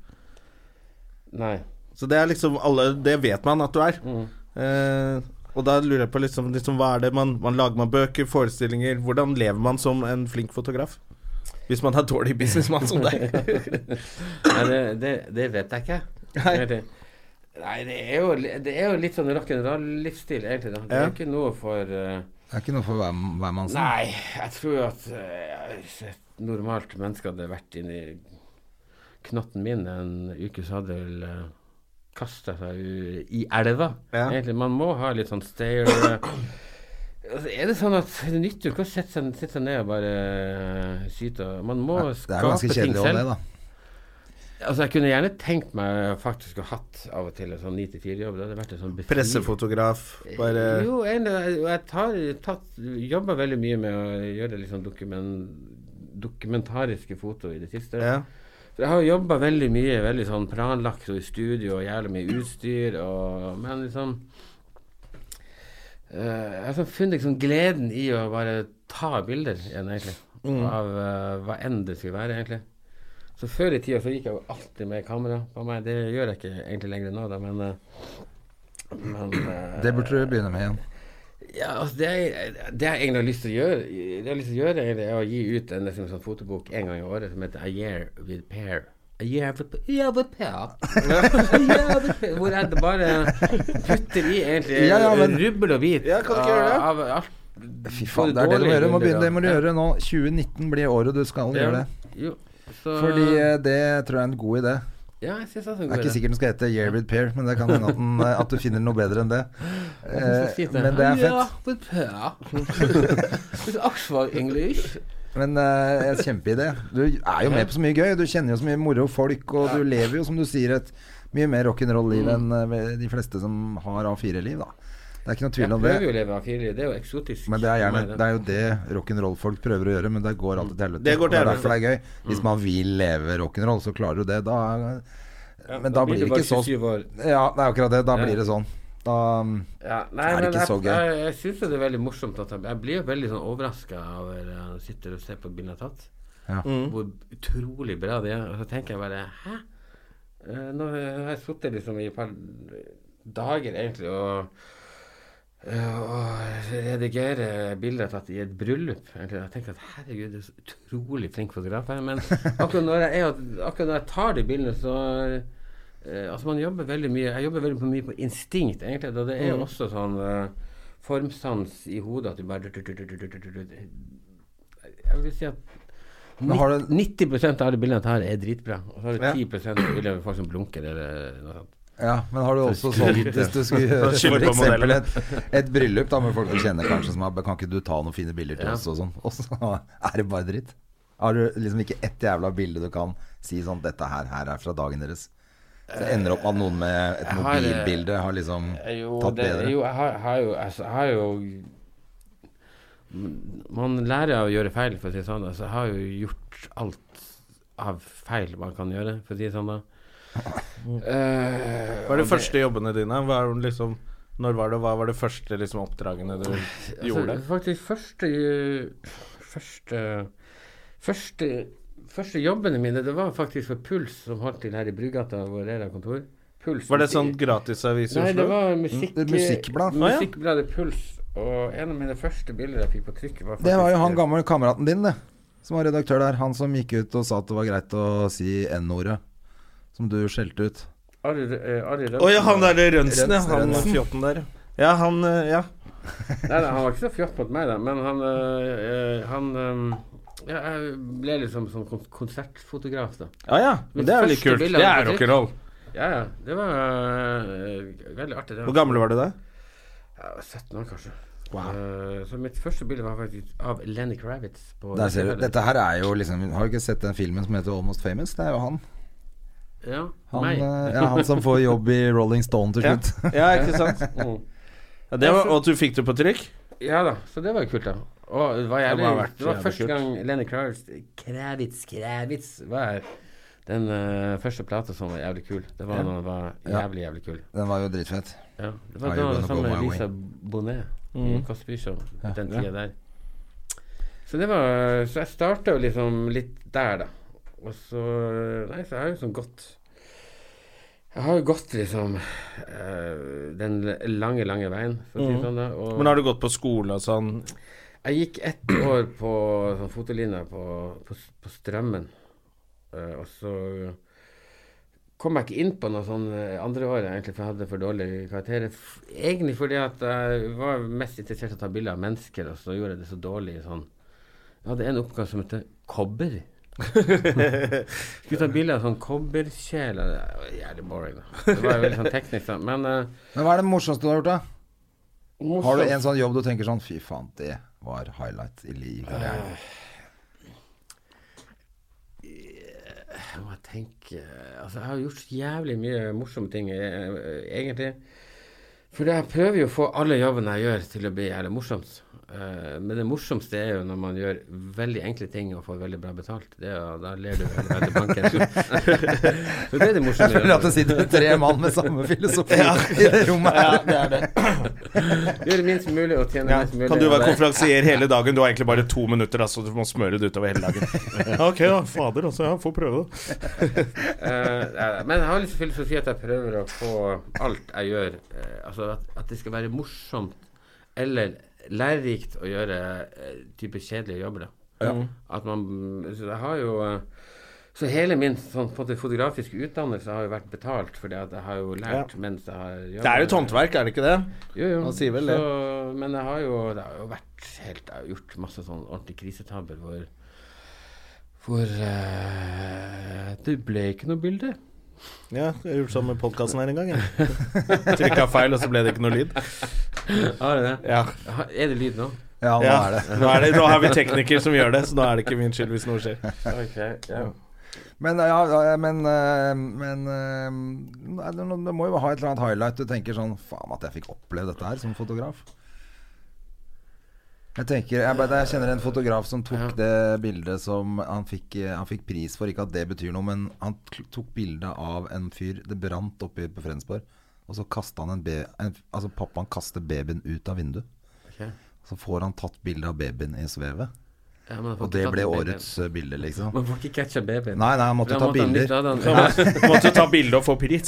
Nei.
Så det er liksom alle Det vet man at du er.
Mm.
Eh, og da lurer jeg på liksom, liksom hva er det man, man lager man bøker, forestillinger Hvordan lever man som en flink fotograf? Hvis man er dårlig businessmann som deg.
*laughs* Nei, det, det, det vet jeg ikke.
Nei.
Det er det. Nei, det er jo, li- det er jo litt sånn rock'n'roll-livsstil, egentlig. da Det
Ja.
er ikke noe for øh,
Det er ikke noe for hver- hvermannsen.
Nei, jeg tror at øh, hvis et normalt menneske hadde vært inni knotten min en uke, så hadde vel uh, kasta seg u- i elva.
Ja.
Egentlig, man må ha litt sånn stayer. Altså, er det sånn at det nytter jo ikke å sette seg, sitte seg ned og bare øh, syte? og- Man må
Det er
skape
ganske
ting
kjedelig å ha
selv.
det, da.
Altså, jeg kunne gjerne tenkt meg faktisk å hatt av og til en sånn 9-4-jobb. Det hadde vært en sånn befrielse.
Pressefotograf, bare
Eh, Jo, egentlig, jeg jeg tar, tatt, jobber veldig mye med å gjøre litt sånn dokumen- dokumentariske foto i det siste.
ja.
For jeg har jobba veldig mye, veldig sånn planlagt og i studio og jævlig mye utstyr og Men liksom eh, Jeg har sånn funnet liksom gleden i å bare ta bilder igjen, egentlig.
Mm.
Av eh, hva enn det skulle være, egentlig. Så før i tida så gikk jeg jo alltid med kamera på meg. Det gjør jeg ikke egentlig lenger nå, da, men, eh, men eh,
Det burde du begynne med igjen.
ja, altså det, jeg, det jeg egentlig har lyst til å gjøre, det jeg har lyst til å gjøre egentlig, er å gi ut en liksom, sånn fotobok en gang i året som heter A Year With Pair. A year with, a year with pair. *laughs* A year with pair. Hvor jeg bare putter i egentlig
Ja, ja, men-
rubbel og bit
Ja, kan du ikke gjøre det?
av alt.
Fy faen, det er det du må gjøre. Du må begynne, det må du gjøre nå. 2019 blir året du skal gjøre det.
Jo, så,
Fordi eh, det tror jeg er en god idé.
Ja, jeg synes også
Det er ikke sikkert den skal hete Year with Pair, men det kan hende at, den, eh, at du finner noe bedre enn det. Eh, men det er fett. *laughs*
fett. Aksvar English.
Men eh, en kjempeidé. Du er jo med på så mye gøy. Du kjenner jo så mye moro folk, og du lever jo, som du sier, et mye mer rock'n'roll-liv enn eh, de fleste som har A4-liv, da. Det er ikke noe
Jeg
tvil om det.
prøver jo å leve av fire, det er jo eksotisk.
Men det er, gjerne,
for meg,
det er jo det rock'n'roll-folk prøver å gjøre, men det går alltid til helvete.
Det
Og
går
det
til
er derfor det er gøy. Hvis man vil leve rock'n'roll, så klarer du det. Da, men da,
da blir
blir det
du bare
ikke så
27 år.
Ja, det er akkurat det. Da
Ja.
blir det sånn. Da
Ja, nei,
Er det
men
ikke
jeg,
så gøy?
Jeg, jeg syns det er veldig morsomt at jeg, jeg blir jo veldig sånn overraska over eh, når jeg sitter og ser på bildene jeg har tatt,
Ja.
hvor utrolig bra de er. Og så tenker jeg bare Hæ? Eh, Nå har jeg sittet liksom i et par dager egentlig og eh, og redigere bilder jeg har tatt i et bryllup. egentlig. Jeg tenkte at herregud, det er så utrolig flink fotograf her.
*laughs*
Men akkurat når jeg, er- akkurat når jeg tar de bildene, så Eh, altså man jobber veldig mye Jeg jobber veldig på- mye på instinkt, egentlig. Da det er jo også sånn eh, formsans i hodet at du bare Jeg vil si at
Men har du-
90 av de bildene jeg tar, er dritbra. Og så har du
Ja.
10 av bilder med folk som blunker eller noe sånt.
Ja, men har du også
*laughs*
sånn Hvis du skulle gjøre for
skylder på
eksempel
modellen.
et, et bryllup da med folk du kjenner kanskje som har Kan ikke du ta noen fine bilder til oss og sånn? Og så *laughs* er det bare dritt. Har du liksom ikke ett jævla bilde du kan si sånn Dette her, her er fra dagen deres. Så det ender opp med at noen med et
Eh, har, eh,
mobilbilde har liksom
Jo,
tatt
det,
bedre.
jo jeg har, har jo altså, Jeg har jo Man lærer av å gjøre feil, for å si det sånn. Altså, jeg har jo gjort alt av feil man kan gjøre, for å si det sånn. da *laughs* Eh,
Hva er de første jobbene dine? Hva er det liksom, når var det, hva var det første liksom, oppdragene du gjorde?
Altså, faktisk første Første Første, første jobbene mine Det var faktisk for Puls Som holdt til her i Brugata Hvor er det kontor Puls
Var det sånn gratisavis i
Nei,
Oslo?
det var musikk,
Det er musikkblad.
Å, ja.
Musikkbladet Puls Og en av mine første bilder jeg fikk på trykk var
Det var jo
faktisk-
han gamle kameraten din, det. Som var redaktør der. Han som gikk ut og sa at det var greit å si N-ordet. Som du skjelte ut.
Ari, eh, Ari
Å ja, han derre Rønsen, ja.
Rønsen,
Han
Rønsen.
fjotten der. Ja, han eh, Ja.
Nei, nei, han var ikke så fjott mot meg, da, men han, øh, øh, han øh, ja, Jeg ble liksom som kon- konsertfotograf, da.
Ja, ja. Men det er jo litt
Første
kult.
bildet
Det
av
er
Patrick.
rock'n'roll.
Ja, ja. Det var øh, veldig artig. Det
Hvor gammel var du da?
Jeg var 17 år, kanskje. Eh, så mitt første bilde var faktisk av Lenny Kravitz. På
Der ser du. Dette her er jo liksom Har du ikke sett den filmen som heter Almost Famous? Det er jo han.
Ja,
Han,
meg.
eh, *laughs* ja, han som får jobb i Rolling Stone til
Ja.
slutt. *laughs*
ja, ikke sant?
Mm.
Ja, det var, og du fikk det på trykk?
Ja da, så det var jo kult, da. Og det var, jævlig,
må ha
det,
vært
var
jævlig
første
kult.
gang Lenny Kravitz Kravitz, Kravitz var den eh, første plata som var jævlig kul. Det var når den var jævlig, jævlig kul.
Den var jo dritfett.
Ja.
Are
Det
you
var da
gonna go
sammen med
my
Lisa Bonet i Cosby Show, den tida der. Så det var Så jeg starta jo liksom litt der, da. Og så Nei, så jeg har jo sånn gått Jeg har jo gått liksom eh, den lange, lange veien, for å si det sånn. da og-
Men har du gått på skole og sånn?
jeg gikk ett år på sånn fotolinja på, på, på Strømmen. Eh, og så kom jeg ikke inn på noe sånn eh, andre året, egentlig, for jeg hadde for dårlige karakterer. F- Egentlig fordi at jeg var mest interessert i å ta bilder av mennesker, og så gjorde jeg det så dårlig i sånn Jeg hadde en oppgave som het kobber. Skulle ta bilder av sånn kobberkjeler. Det var Jævlig boring, da. Det var jo veldig sånn teknisk, da. Men eh,
Men hva er det morsomste du har gjort, da? Har
morsomt-
du en sånn jobb du tenker sånn Fy faen, det var highlight i li- i karrieren.
Jeg må tenke Altså, jeg har gjort så jævlig mye morsomme ting, eh, egentlig. For jeg prøver jo å få alle jobbene jeg gjør, til å bli jævlig morsomt. Eh, Men det morsomste er jo når man gjør veldig enkle ting og får veldig bra betalt. Det er, jo- da ler du veldig veldig banken.
*laughs*
Så det er det morsomme.
Jeg føler at det
Jeg
sitter tre mann med samme filosofi i det rommet her. Ja, det er det.
gjør minst mulig og tjener minst mulig.
Kan du
og
være
det-
konferansier hele dagen? Du har egentlig bare to minutter, altså. Du må smøre det utover hele dagen. *laughs* ok, da. Fader, altså. Ja, får prøve det.
Eh, ja, men jeg har litt filosofi at jeg prøver å få alt jeg gjør eh, Altså at, at det skal være morsomt eller lærerikt å gjøre eh, type kjedelige jobber. Da.
Mm.
At man Så jeg har jo eh, Så hele min sånn, på en måte fotografiske utdannelse har jo vært betalt, fordi at jeg har jo lært mens jeg har jobbet.
Det er jo et håndverk, er det ikke det?
Jo, jo.
Han sier vel det.
Så, men jeg har jo, det har jo vært helt Jeg har gjort masse sånn ordentlige krisetabber hvor Hvor eh, det ble ikke noe bilde.
Ja, jeg har gjort sånn med podkasten her en gang, *laughs* jeg. Trykka feil, og så ble det ikke noe lyd.
Har du det?
Ja.
Ha- Er det lyd nå?
Ja, nå
ja.
er det.
Nå, er det, nå har vi tekniker som gjør det, så nå er det ikke min skyld hvis noe skjer.
Men, ja, ja, men, eh, men eh, nei, det det må jo ha et eller annet highlight du tenker sånn Faen at jeg fikk oppleve dette her som fotograf. Jeg tenker, jeg, bare- jeg kjenner en fotograf som tok det bildet som han fikk, eh, han fikk pris for. Ikke at det betyr noe, men han t- tok bilde av en fyr det brant oppe i- på Frensborg. Og så kasta han en, be, en Altså pappaen kaster babyen ut av vinduet.
Ok.
Så får han tatt bilde av babyen i svevet.
Ja, men jeg får
Og
ikke
det
tatt
ble
den babyen.
årets eh, bilde, liksom.
Man får ikke catcha babyen.
Nei, nei, han
Da
måtte ta
måtte han
bilder.
lytte av den.
Måtte jo ta bilde og få pris.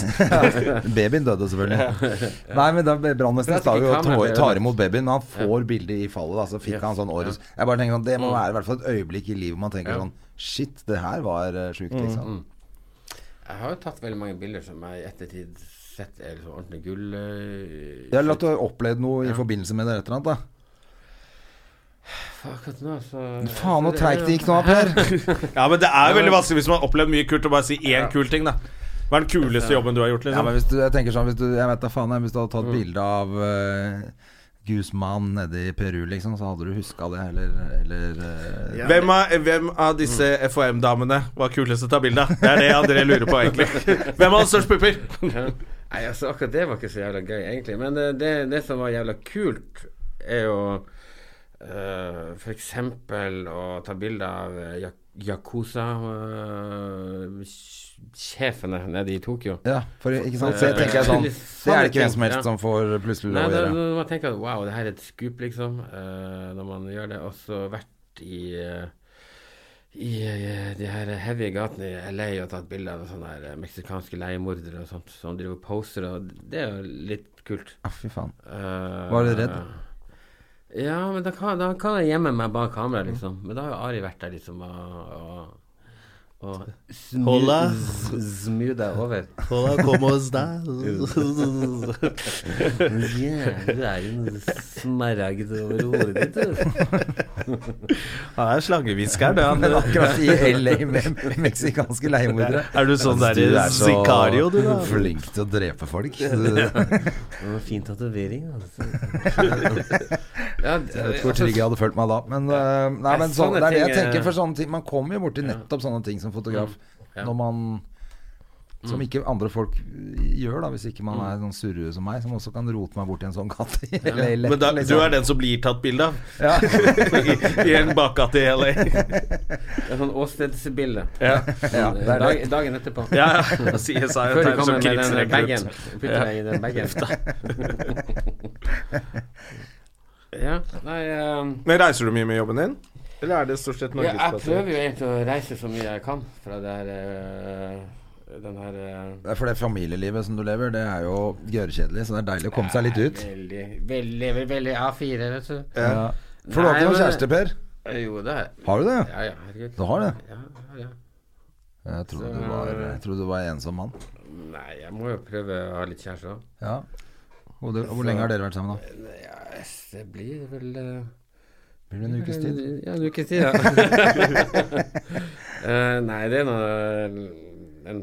Babyen dødde selvfølgelig. *laughs* Nei, men da Brannvesenet
For
tar
at
jo
ikke
og
kameraet
tar,
gjør
tar
det.
imot babyen, men han får bildet i fallet, da, så fikk
Yes.
han sånn årets Jeg bare tenker sånn, Det må være i hvert fall et øyeblikk i livet man tenker sånn Shit, det her var eh, sjukt, liksom.
Jeg har jo tatt veldig mange bilder som jeg i ettertid sett er liksom ordentlig gull. øh,
Jeg har latt du opplevd noe i forbindelse med det eller et eller annet,
Faen, Akkurat nå, så
da. Faen, hvor treigt det gikk nå, Per.
Ja, men det er jo veldig vanskelig hvis man har opplevd mye kult, å bare si én kul ting, da. Hva er den kuleste jobben du har
*laughs*
gjort,
Ja, men
liksom?
hvis du, Mm. jeg tenker sånn, hvis du, jeg vet da faen, jeg, hvis du hadde tatt bilde av eh, Guzman nede i Peru, liksom, så hadde du huska det, eller, eller eh,
Hvem av, hvem av disse FHM-damene var kulest å ta bilde av? Det er det André lurer på, egentlig. Hvem har størst pupper?
Ja. Nei, altså akkurat det var ikke så jævla gøy, egentlig. Men det, det, det som var jævla kult, er jo øh, for eksempel å ta bilde av øh, ya- eh, Yakuza-sjefene nede i Tokyo.
Ja, for, ikke sant. Så jeg tenker *laughs* jeg sånn Det er det ikke hvem som
Ja.
helst som får plutselig
Nei,
lov å
da,
gjøre.
når man tenker at wow, det her er et skup, liksom, eh, når man gjør det, og så vært i eh, i eh, de her heavy gatene i LA og tatt bilder av sånne her eh, meksikanske leiemordere og sånt, som driver og poser, og det er jo litt kult.
Ja, Ah, fy faen.
Eh,
Var du redd?
Ja, men da kan, da kan jeg gjemme meg bak kamera, liksom. Men da har jo Ari vært der, liksom, og, og, Og smu-
Hola.
z- Smu deg over.
Hola, como estás?
Yeah, du er jo en smaragd over hodet ditt, du.
Han er slangehvisker, det. Han,
Akkurat i LA med med meksikanske leiemordere.
Er du sånn der
Du er så
sicario, du, da?
Flink til å drepe folk. Du-
Det var Fin tatovering, altså. *laughs* Ja, altså,
Jeg tror ikke jeg hadde følt meg da. Men, eh, nei, men sånn,
sånne
det er det jeg
eh,
ting er-
tenker for sånne ting. Man kommer jo borti nettopp sånne ting som fotograf.
Mm.
Når man Som ikke andre folk gjør, da hvis ikke man
Mm.
er sånn surrue som meg, som også kan rote meg borti en sånn gate. *laughs* Eller-
Men da,
liksom.
du er den som blir tatt bilde av?
Ja.
*laughs*
*laughs*
I, I en bakgate i LA?
Det er sånn åstedsbilde. Eh,
Ja.
Ja, det er
Dag,
det.
dagen etterpå.
ja, ja. CSI
Før du
tegner
kommer
som
med den bagen.
krigsrekrutt.
Putter deg i den bagen. ja, nei ehm,
Men reiser du mye med jobben din? Eller er det stort sett
ja, Jeg
norgesbasert?
prøver jo egentlig å reise så mye jeg kan fra det her eh, den her eh,
*laughs* Det er For det familielivet som du lever, det er jo gørrkjedelig, så det er deilig å komme seg litt ut.
Veldig, veldig, veldig, veldig A4, vet du.
Ja. For du har
Nei,
ikke noen
men-
kjæreste, Per?
Jo, det er
Har du det?
Ja, ja, herregud.
Du har det?
Ja, ja, ja.
Jeg trodde du var, jeg trodde du var en ensom mann.
Nei, jeg må jo prøve å ha litt kjæreste òg.
Ja. Hvor, hvor lenge har dere vært sammen, da?
Det blir vel eh,
Blir det en ukes tid?
*laughs* Ja, en ukes tid, ja.
*laughs*
Eh, nei, det er noe en,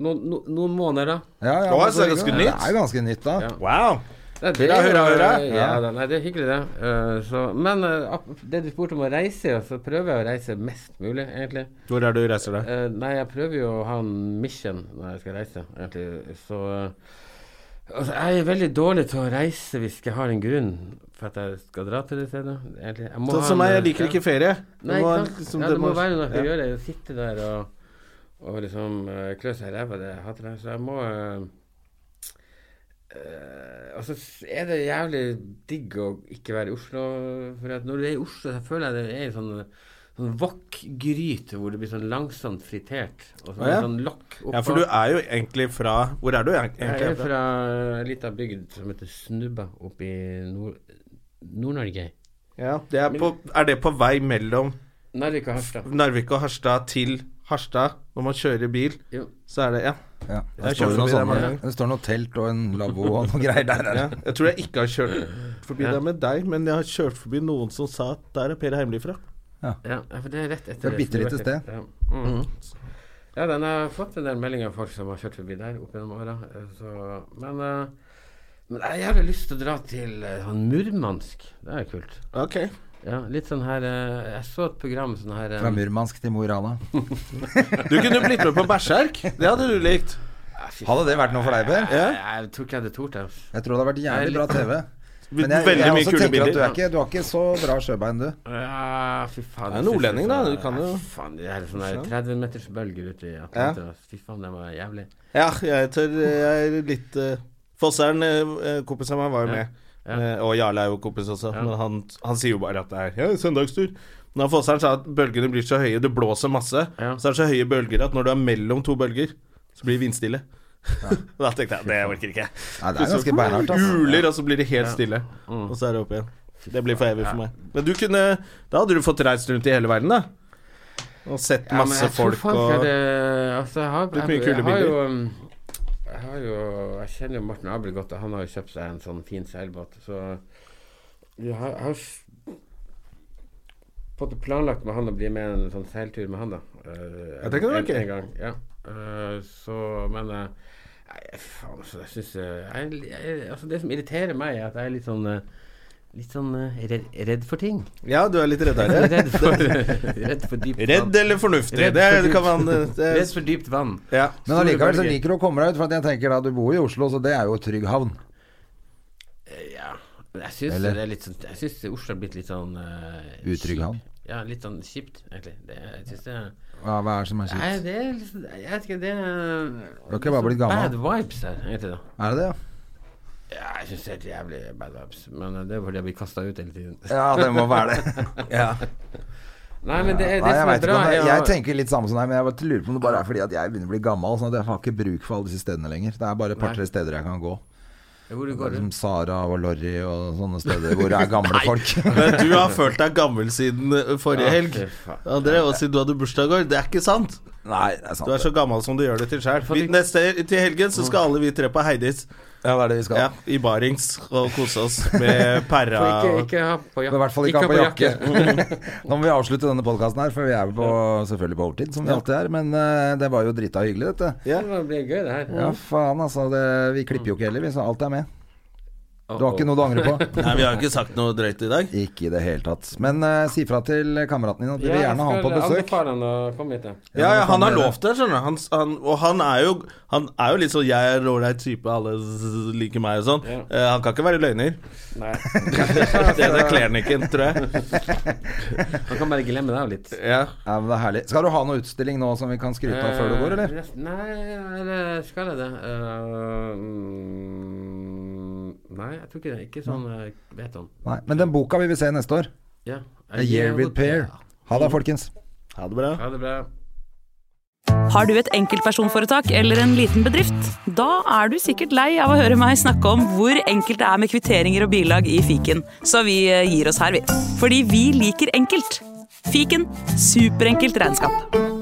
no, no, Noen måneder, da.
Ja, ja,
Å,
men
så er det ganske
Det
nytt.
er jo ganske nytt, da.
Ja.
Wow!
Det, eh,
Hurra, hurra, hurra.
Ja, da, nei, det er hyggelig, det. Eh, så, men eh, ap- det du spurte om å reise, ja, så prøver jeg å reise mest mulig, egentlig.
Hvor er det du reiser deg?
Eh, nei, jeg prøver jo å ha en mission når jeg skal reise, egentlig. Så eh, altså, Jeg er veldig dårlig til å reise hvis ikke jeg har en grunn for at jeg skal dra til det stedet. Egentlig. Jeg må
Sånn
ha
som
en,
meg,
eh,
jeg liker
ja.
ikke ferie. Det
Nei,
må-
ikke sant.
liksom,
ja,
det
det
må-
må være noe jeg skal
ja.
gjøre. Sitte der og, og liksom eh, klø seg i ræva. Det jeg hater jeg. Så jeg må eh, eh, Og så s- er det jævlig digg å ikke være i Oslo. For at når du er i Oslo, så føler jeg det er en sånn, sånn wok-gryte hvor det blir sånn langsomt fritert. Og så
Å, ja.
sånn lokk oppå.
Ja, for du er jo egentlig fra Hvor er du egent-
Jeg
egentlig
er fra ei lita bygd som heter Snubba oppe i Nord- Nord-Norge.
Ja, det er, på, er det på vei mellom
Narvik og Harstad.
Narvik og Harstad til Harstad? Når man kjører bil,
Jo.
så er det Ja.
Ja. Det
Jeg
står, noe sånn-
kjører forbi der
sånne,
mange ganger.
det står noe telt og en lavvo og noe greier der.
ja.
der.
Jeg tror jeg ikke har kjørt forbi der med deg, men jeg har kjørt forbi noen som sa at der er Per Heimly fra.
Ja, ja, for det er rett
Det er
etter
bitte lite
Snøhvit.
sted.
Ja. Mm. ja, den har fått en del meldinger av folk som har kjørt forbi der opp gjennom åra. eh, så- Men, eh, men jeg har jævlig lyst til å dra til eh, sånn Murmansk. Det er kult.
Ok.
Ja, litt sånn her eh, Jeg så et program sånn her eh,
Fra Murmansk til Mo i Rana.
Du kunne blitt med på Berserk. Det hadde du likt.
Hadde det vært noe for deg, Per?
Ja.
jeg, jeg tror ikke jeg hadde tort det. ass.
Jeg tror det hadde vært jævlig bra TV. Men jeg,
Veldig
jeg
mye
også
kule
tenker at du
bilder.
er ikke, du har ikke så bra sjøbein, du.
Ja, fy faen.
Du er
jeg synes
nordlending,
det
da,
er så-
du kan
ja,
jo-
fy Faen, det er sånne her 30 meters bølger ute i Atlanta. Fy faen, det var jævlig.
Ja, jeg tør Jeg er litt eh, Fosseren, eh, kompisen min, var jo med. Eh, og Jarle er jo kompis også, men han, han sier jo bare at det er ja, søndagstur. Men han Fosseren sa at bølgene blir så høye, det blåser masse,
Ja.
så er det så høye bølger at når du er mellom to bølger, så blir det vindstille. *laughs* da tenkte jeg det orker ikke jeg.
Nei, det er ganske beinhardt, altså.
Uler, og så blir det helt stille. Og så er det opp igjen. Det blir for evig for meg. Men du kunne Da hadde du fått reist rundt i hele verden, da. Og sett
Ja, men
masse
jeg tror
folk
faen
og
ikke det- altså, jeg har,
Litt
jeg,
mye
jeg,
kule
har
bilder.
jo um, Jeg har jo Jeg kjenner jo Morten Abel godt, og han har jo kjøpt seg en sånn fin seilbåt, så jeg har, jeg har s- fått planlagt med han å bli med en sånn seiltur med han, da. Eh,
Jeg tenker det var
en-
gøy.
En gang, ja. Eh, så, men eh, Nei, faen, altså, jeg syns jeg, jeg, altså, Det som irriterer meg, er at jeg er litt sånn eh, Litt sånn eh, redd, redd for ting.
Ja, du er litt reddere.
*laughs* Redd for,
*laughs*
redd for dypt
Redd eller fornuftig?
Redd
det,
for dypt.
kan man eh, det,
*laughs* Redd for dypt vann.
ja.
Men allikevel så
bølger.
liker du å komme deg ut, for at jeg tenker da du bor i Oslo, så det er jo trygg havn.
Eh, Ja, men jeg syns
Eller?
det er litt sånn Jeg syns Oslo har blitt litt sånn eh,
Utrygg
kjip.
havn.
Ja, litt sånn kjipt, egentlig. Det, jeg synes det er
Hva, hva er det som er
Nei,
kjipt?
det er liksom Jeg vet ikke, det er
Du har ikke bare blitt
Bad
gammel?
vibes her, heter det.
Er det det?
Ja, jeg syns det er helt jævlig bad vibes. Men eh, det er fordi jeg blir kasta ut hele tiden.
Ja, det må være det. *laughs* Ja.
Nei, men det, er- det
Nei, jeg
som
vet
er
ikke
bra,
om det,
er
Jeg
å-
tenker litt samme som deg, men jeg bare lurer på om det bare er fordi at jeg begynner å bli gammel. Sånn at jeg har ikke bruk for alle disse stedene lenger. Det er bare et
Nei.
par-tre steder jeg kan gå.
Hvor du går
Som
rundt.
Sara og Lorry og sånne steder hvor det er
*laughs*
gamle folk.
Men du har følt deg gammel siden eh, forrige
Ja,
helg.
fy faen.
André, og siden du hadde bursdag i går. Det er ikke sant.
Nei, det er sant.
Du
*laughs*
er så gammel som du gjør det til sjøl. Til helgen så skal alle vi tre på Heidis.
Ja, det er det vi skal.
Ja, I barings og kose oss med pæra.
Får ikke,
og-
ikke ha på jakke.
Men I hvert fall ikke, ha på
*laughs*
jakke. *laughs* Nå må vi avslutte denne podkasten her, for vi er jo på, selvfølgelig på overtid, som vi alltid er. Men eh, det var jo drita hyggelig, dette.
Ja, Det blir gøy, det her.
Ja, faen, altså. Det, vi klipper jo ikke heller, vi, så alt er med.
Oh,
Du har ikke noe du angrer
*laughs*
på?
Nei, vi har ikke sagt noe drøyt i dag.
Ikke i det hele tatt. Men eh, si fra til kameraten din at du vil gjerne ha han på besøk.
Anbefaler han å komme hit. ja.
Ja, ja, han har
det.
lovt det, skjønner du. Han, han, og han er jo Han er jo litt sånn 'jeg er en ålreit type, alle z- liker meg' og sånn.
Ja.
Eh, han kan ikke være løgner.
Nei,
*laughs* Det, det kler han ikke, tror jeg.
han kan bare glemme deg litt.
Ja.
Ja, men det er herlig. Skal du ha noe utstilling nå som vi kan skryte av før du går, eller?
Eh, rest- Nei, eller skal jeg det? Eh, mm, nei, jeg tror ikke det. Ikke sånn jeg vet om.
Nei. Men den boka vil vi se neste år.
Ja.
A Year With Pair. Ha det, folkens.
Ha det bra.
Ha det bra.
Har du et enkeltpersonforetak eller en liten bedrift? Da er du sikkert lei av å høre meg snakke om hvor enkelt det er med kvitteringer og bilag i fiken, så vi eh, gir oss her, vi. Fordi vi liker enkelt. Fiken superenkelt regnskap.